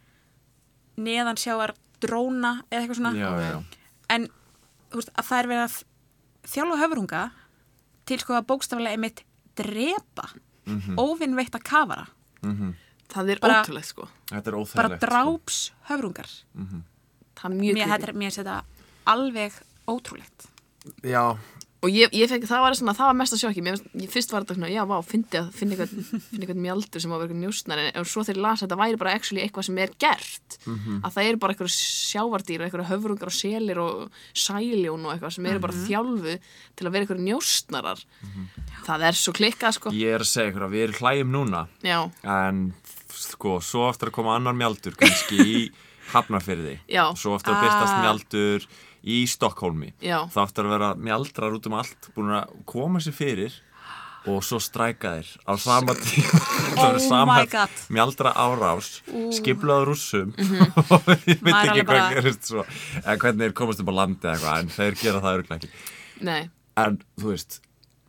[SPEAKER 4] neðansjáar dróna eða eitthvað svona
[SPEAKER 3] já, já,
[SPEAKER 4] en þú veist, að það er verið að þjálfa höfurunga til sko að bókstaflega einmitt drepa mm
[SPEAKER 3] Mhm.
[SPEAKER 4] óvinnveitt að kafara
[SPEAKER 2] það er
[SPEAKER 4] Bara-
[SPEAKER 2] ótrúlegt sko
[SPEAKER 3] þetta er
[SPEAKER 4] bara
[SPEAKER 3] óþægilegt sko.
[SPEAKER 4] dráps höfrungar
[SPEAKER 2] það er mjög
[SPEAKER 4] mér
[SPEAKER 2] creepy.
[SPEAKER 4] þetta er- mér finnst þetta alveg ótrúlegt.
[SPEAKER 3] Já,
[SPEAKER 2] Og ég, ég fekk, það var svona, það var mesta sjokki Mér, fannst- ég, Fyrst var þetta svona, já, vá, fyndi að finna eitthvað, finna eitthvað mjaldur sem var eitthvað njóstnar en, en svo þeir lasa, þetta væri bara actually eitthvað sem er gert
[SPEAKER 3] Mhm.
[SPEAKER 2] að það eru bara eitthvað sjávardýr og eitthvað höfrungar og selir og sæljón og eitthvað sem eru
[SPEAKER 3] Mhm.
[SPEAKER 2] bara þjálfu til að vera eitthvað njóstnarar Það er svo klikkað, sko
[SPEAKER 3] ég er að segja ykkur að við erum hlægjum núna
[SPEAKER 2] Já,
[SPEAKER 3] en sko, svo aftur að koma annar mjaldur kannski í Hafnarfyrði
[SPEAKER 2] Já.
[SPEAKER 3] svo aftur að byrtast
[SPEAKER 4] Ah.
[SPEAKER 3] mjaldur í Stokkólmi
[SPEAKER 2] Já.
[SPEAKER 3] þá aftur að vera mjaldrar út um allt búin að koma sér fyrir og svo stræka þér á sama tíma Það
[SPEAKER 4] Oh
[SPEAKER 3] verður
[SPEAKER 4] my God. Mhm.
[SPEAKER 3] mjaldra árás skiplaður rússum og ég veit
[SPEAKER 4] Maður er
[SPEAKER 3] ekki hvað
[SPEAKER 4] alveg bara-
[SPEAKER 3] gerist svo eða hvernig þeir komast upp á landi eða eitthvað en þeir gera það örgulega ekki
[SPEAKER 2] nei,
[SPEAKER 3] en þú veist,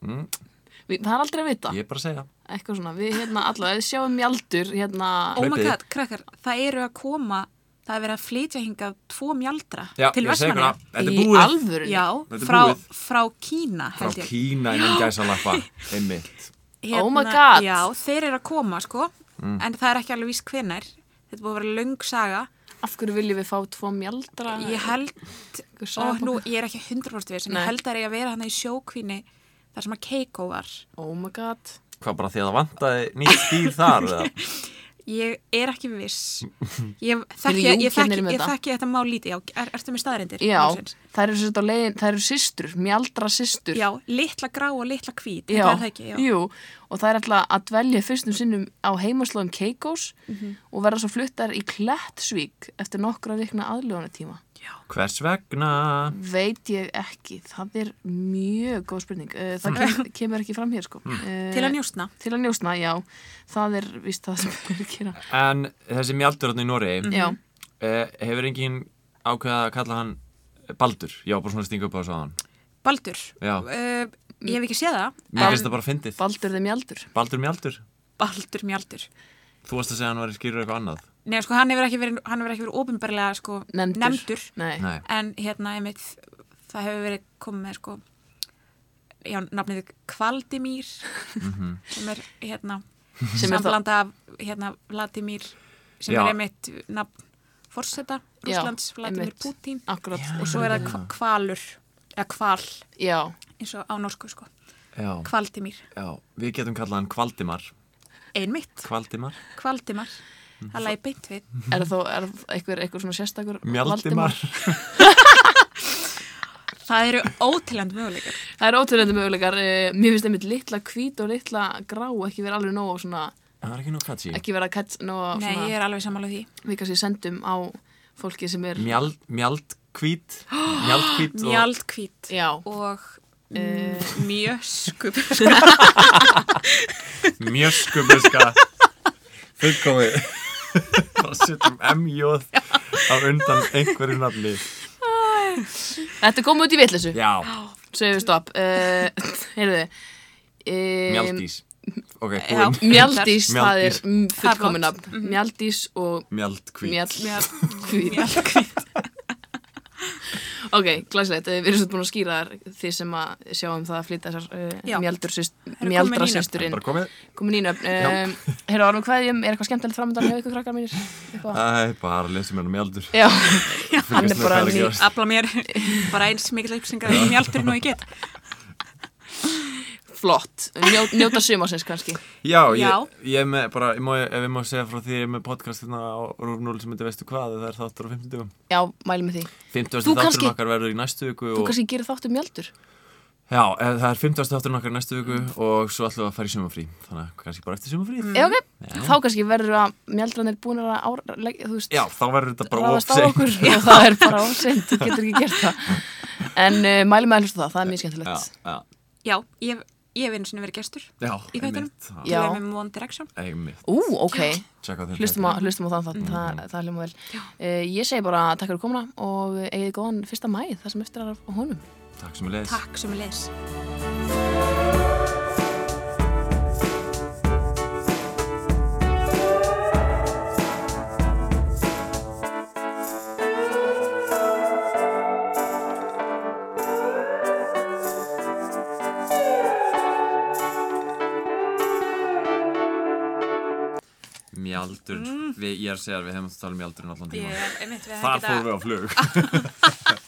[SPEAKER 2] við, það er aldrei að vita
[SPEAKER 3] ég er bara að segja
[SPEAKER 2] Eitthvað svona, við hérna allavega, við sjáum mjaldur hérna,
[SPEAKER 4] Oh my
[SPEAKER 3] Hlaupið.
[SPEAKER 4] god, krakkar, það eru að koma, það er verið að flytja hingað tvo mjaldra
[SPEAKER 3] Já,
[SPEAKER 4] til
[SPEAKER 3] ég segi ykkur
[SPEAKER 4] Vestmanna.
[SPEAKER 3] að þetta
[SPEAKER 2] í
[SPEAKER 3] er búið
[SPEAKER 2] alvörunni
[SPEAKER 4] Já,
[SPEAKER 3] Þetta er
[SPEAKER 4] frá,
[SPEAKER 3] búið.
[SPEAKER 4] frá Kína,
[SPEAKER 3] frá
[SPEAKER 4] held ég.
[SPEAKER 3] Kína innan gæsalappa einmitt
[SPEAKER 2] Oh my god.
[SPEAKER 4] Hérna, Já, þeir eru að koma, sko, en það er ekki alveg víst hvenær. Þetta er búið að vera löng saga.
[SPEAKER 2] Af hverju viljum við fá tvo mjaldra?
[SPEAKER 4] Ég held,
[SPEAKER 2] sagabók.
[SPEAKER 4] og nú, ég er ekki 100% við, sem
[SPEAKER 2] Nei.
[SPEAKER 4] ég held að það er að vera hann í sjókvinni þar sem að Keiko var.
[SPEAKER 2] Oh my god
[SPEAKER 3] Hvað bara því að það vantaði nýtt stíl þar eða?
[SPEAKER 4] Ég er ekki viss. Ég
[SPEAKER 2] Fyrir
[SPEAKER 4] þekki, ég,
[SPEAKER 2] Jón kennir
[SPEAKER 4] þekki,
[SPEAKER 2] um
[SPEAKER 4] ég
[SPEAKER 2] þetta.
[SPEAKER 4] þekki þetta mál lítið. Já, er, ertu með staðarindir?
[SPEAKER 2] Já, það eru sérst á leiðin, það eru systur, mjaldra systur.
[SPEAKER 4] Já, litla grá og litla hvít,
[SPEAKER 2] Já,
[SPEAKER 4] þetta er það ekki, já.
[SPEAKER 2] Jú, og það er alltaf að dvelja fyrstum sinnum á heimaslóðum Keikós
[SPEAKER 4] Mhm.
[SPEAKER 2] og verða svo fluttar í Klettsvík eftir nokkra vikna aðljóðanatíma.
[SPEAKER 3] Hvers vegna?
[SPEAKER 2] Veit ég ekki, það er mjög góð spurning. Eh, Það kem, kemur ekki fram hér sko. Eh,
[SPEAKER 4] Mm. Til að njóstna.
[SPEAKER 2] Til að njósna, já. Það er víst það sem við erum að gera.
[SPEAKER 3] En þessi mjaldur hann í Noregi
[SPEAKER 2] Já,
[SPEAKER 3] eh, hefur enginn ákveða að kalla hann Baldur? Já, bara svona stinga upp á þessu aðan
[SPEAKER 4] Baldur,
[SPEAKER 3] Já.
[SPEAKER 4] uh, ég hef ekki séð það,
[SPEAKER 3] Mér finnst það bara fyndið
[SPEAKER 2] Baldur þeim mjaldur.
[SPEAKER 3] Baldur mjaldur?
[SPEAKER 4] Baldur mjaldur.
[SPEAKER 3] Þú varst að segja að hann var að skýra eitthvað annað
[SPEAKER 4] Nei, sko, hann hefur ekki verið, hann hefur ekki verið ópenbarlega, sko,
[SPEAKER 2] Nefndur.
[SPEAKER 4] nefndur.
[SPEAKER 2] Nei.
[SPEAKER 3] Nei,
[SPEAKER 4] En hérna, einmitt, það hefur verið komið með, sko, já, nafnið Kvaldimír,
[SPEAKER 3] Mhm.
[SPEAKER 4] sem er, hérna,
[SPEAKER 2] Sem er það-
[SPEAKER 4] samblanda af, hérna, Vladimír, sem
[SPEAKER 3] Já.
[SPEAKER 4] er einmitt nafn forseta
[SPEAKER 2] Já,
[SPEAKER 4] Rúslands, Vladimir
[SPEAKER 2] einmitt.
[SPEAKER 4] Putin.
[SPEAKER 2] Akkurat.
[SPEAKER 4] Og svo er það
[SPEAKER 3] Mhm.
[SPEAKER 4] kva- Kvalur, eða Kval,
[SPEAKER 2] Já,
[SPEAKER 4] eins og á norsku, sko,
[SPEAKER 3] já,
[SPEAKER 4] Kvaldimír.
[SPEAKER 3] já Við getum kallað hann Kvaldimar
[SPEAKER 4] Einmitt,
[SPEAKER 3] Kvaldimar?
[SPEAKER 4] Kvaldimar,
[SPEAKER 3] Mhm.
[SPEAKER 4] það lægi beint við.
[SPEAKER 2] er það er eitthvað, eitthvað svona sérstakur
[SPEAKER 3] Mjaldimar?
[SPEAKER 4] Það eru ótiland möguleikar.
[SPEAKER 2] Það er ótrúlega möguleikar, eh, mér finnst einmitt litla hvít og litla grá ekki vera alveg nóg svona,
[SPEAKER 3] Það er ekki nú katsi
[SPEAKER 2] ekki vera kætt nóg
[SPEAKER 4] Nei, ég
[SPEAKER 2] svona,
[SPEAKER 4] er alveg sammála því.
[SPEAKER 2] við kannski sendum á fólki sem er,
[SPEAKER 3] Mjald, mjaldkvít Mjaldkvít og
[SPEAKER 4] Mjaldkvít
[SPEAKER 2] já,
[SPEAKER 4] og
[SPEAKER 2] Eh.
[SPEAKER 4] mm, mjöskup.
[SPEAKER 3] mjöskubiska fullkomi bara setjum M-jóð á undan einhverju nafni
[SPEAKER 2] þetta kom út í vitleysu,
[SPEAKER 3] já,
[SPEAKER 2] sögum við stopp, uh, heyrðu, um,
[SPEAKER 3] mjaldís ok,
[SPEAKER 4] Já.
[SPEAKER 3] búinn
[SPEAKER 2] mjaldís, það er
[SPEAKER 3] Mjaldís.
[SPEAKER 2] fullkominab,
[SPEAKER 4] Það
[SPEAKER 2] mjaldís og
[SPEAKER 3] mjaldkvít
[SPEAKER 2] mjall, hvít. Ok, glæsilegt, Eh, við erum svo búin að skýra þar þið sem að sjáum það að flytja eh,
[SPEAKER 4] Já.
[SPEAKER 2] þessar uh,
[SPEAKER 4] komin
[SPEAKER 2] mjaldra
[SPEAKER 4] ný nöfn.
[SPEAKER 2] sýsturinn.
[SPEAKER 3] bara komið
[SPEAKER 2] komin í nöfn um, Herra Ormur Kveðjum, er eitthvað skemmtilegt framöndan hjá ykkur krakkar mínir? Eitthvað?
[SPEAKER 3] Æ, bara lesum hérna mjaldur
[SPEAKER 2] Já, hann
[SPEAKER 3] Fylgjast
[SPEAKER 2] er
[SPEAKER 3] með
[SPEAKER 2] bara
[SPEAKER 3] hvað er að
[SPEAKER 2] ný
[SPEAKER 3] gerast.
[SPEAKER 4] Abla mér bara eins mikil upplýsingar í mjaldurinn og ég get.
[SPEAKER 2] flott Njó, Njóta sumarsins kannski
[SPEAKER 3] já,
[SPEAKER 4] Já.
[SPEAKER 3] ég, ég er með bara, ég má, ef ég má segja frá því ég er með podcast hérna á Rúf 0 sem heitir veistu hvað það er þáttur á 50
[SPEAKER 2] Já, mæli með því
[SPEAKER 3] 50
[SPEAKER 2] Þú
[SPEAKER 3] þátturinn
[SPEAKER 2] kannski-
[SPEAKER 3] okkar verður í næstu viku
[SPEAKER 2] Þú
[SPEAKER 3] og,
[SPEAKER 2] kannski gerir þáttum mjöldur
[SPEAKER 3] já, eh, það er 50 þátturinn okkar í næstu viku og svo ætlum við að fara í sumafrí þannig að kannski bara eftir sumafrí
[SPEAKER 2] Já, Eh, ok, þá kannski verður að mjöldrannir búin að ára, leg, þú veist
[SPEAKER 3] já, þá verður þetta bara
[SPEAKER 2] ráðast á
[SPEAKER 3] of seint.
[SPEAKER 2] okkur og það er bara óseint, þú getur ekki gert það En uh, mæli með að hlusta það, það er mjög
[SPEAKER 3] já,
[SPEAKER 2] skemmtilegt
[SPEAKER 3] já,
[SPEAKER 4] Já, ég, ég hef einu sinni verið gestur
[SPEAKER 3] já,
[SPEAKER 4] í þættinum.
[SPEAKER 3] einmitt,
[SPEAKER 2] Já.
[SPEAKER 4] Ég hef með One Direction.
[SPEAKER 3] einmitt,
[SPEAKER 2] Ú, ok,
[SPEAKER 3] tjekka þetta
[SPEAKER 2] hlustum á, hlustum á þann þátt,
[SPEAKER 3] Mm.
[SPEAKER 2] það, það er hljóma vel uh, Ég segi bara takk fyrir komuna og eigið góðan fyrsta mæ, það sem eftir er af honum
[SPEAKER 3] takk sem við leðis
[SPEAKER 4] Takk sem er leis.
[SPEAKER 3] mjaldur, við, ég er að segja að við hefum að tala um mjaldurinn allan tíma
[SPEAKER 4] Ég, einmitt, við hefum
[SPEAKER 3] þar
[SPEAKER 4] getað-
[SPEAKER 3] um fórum við á flug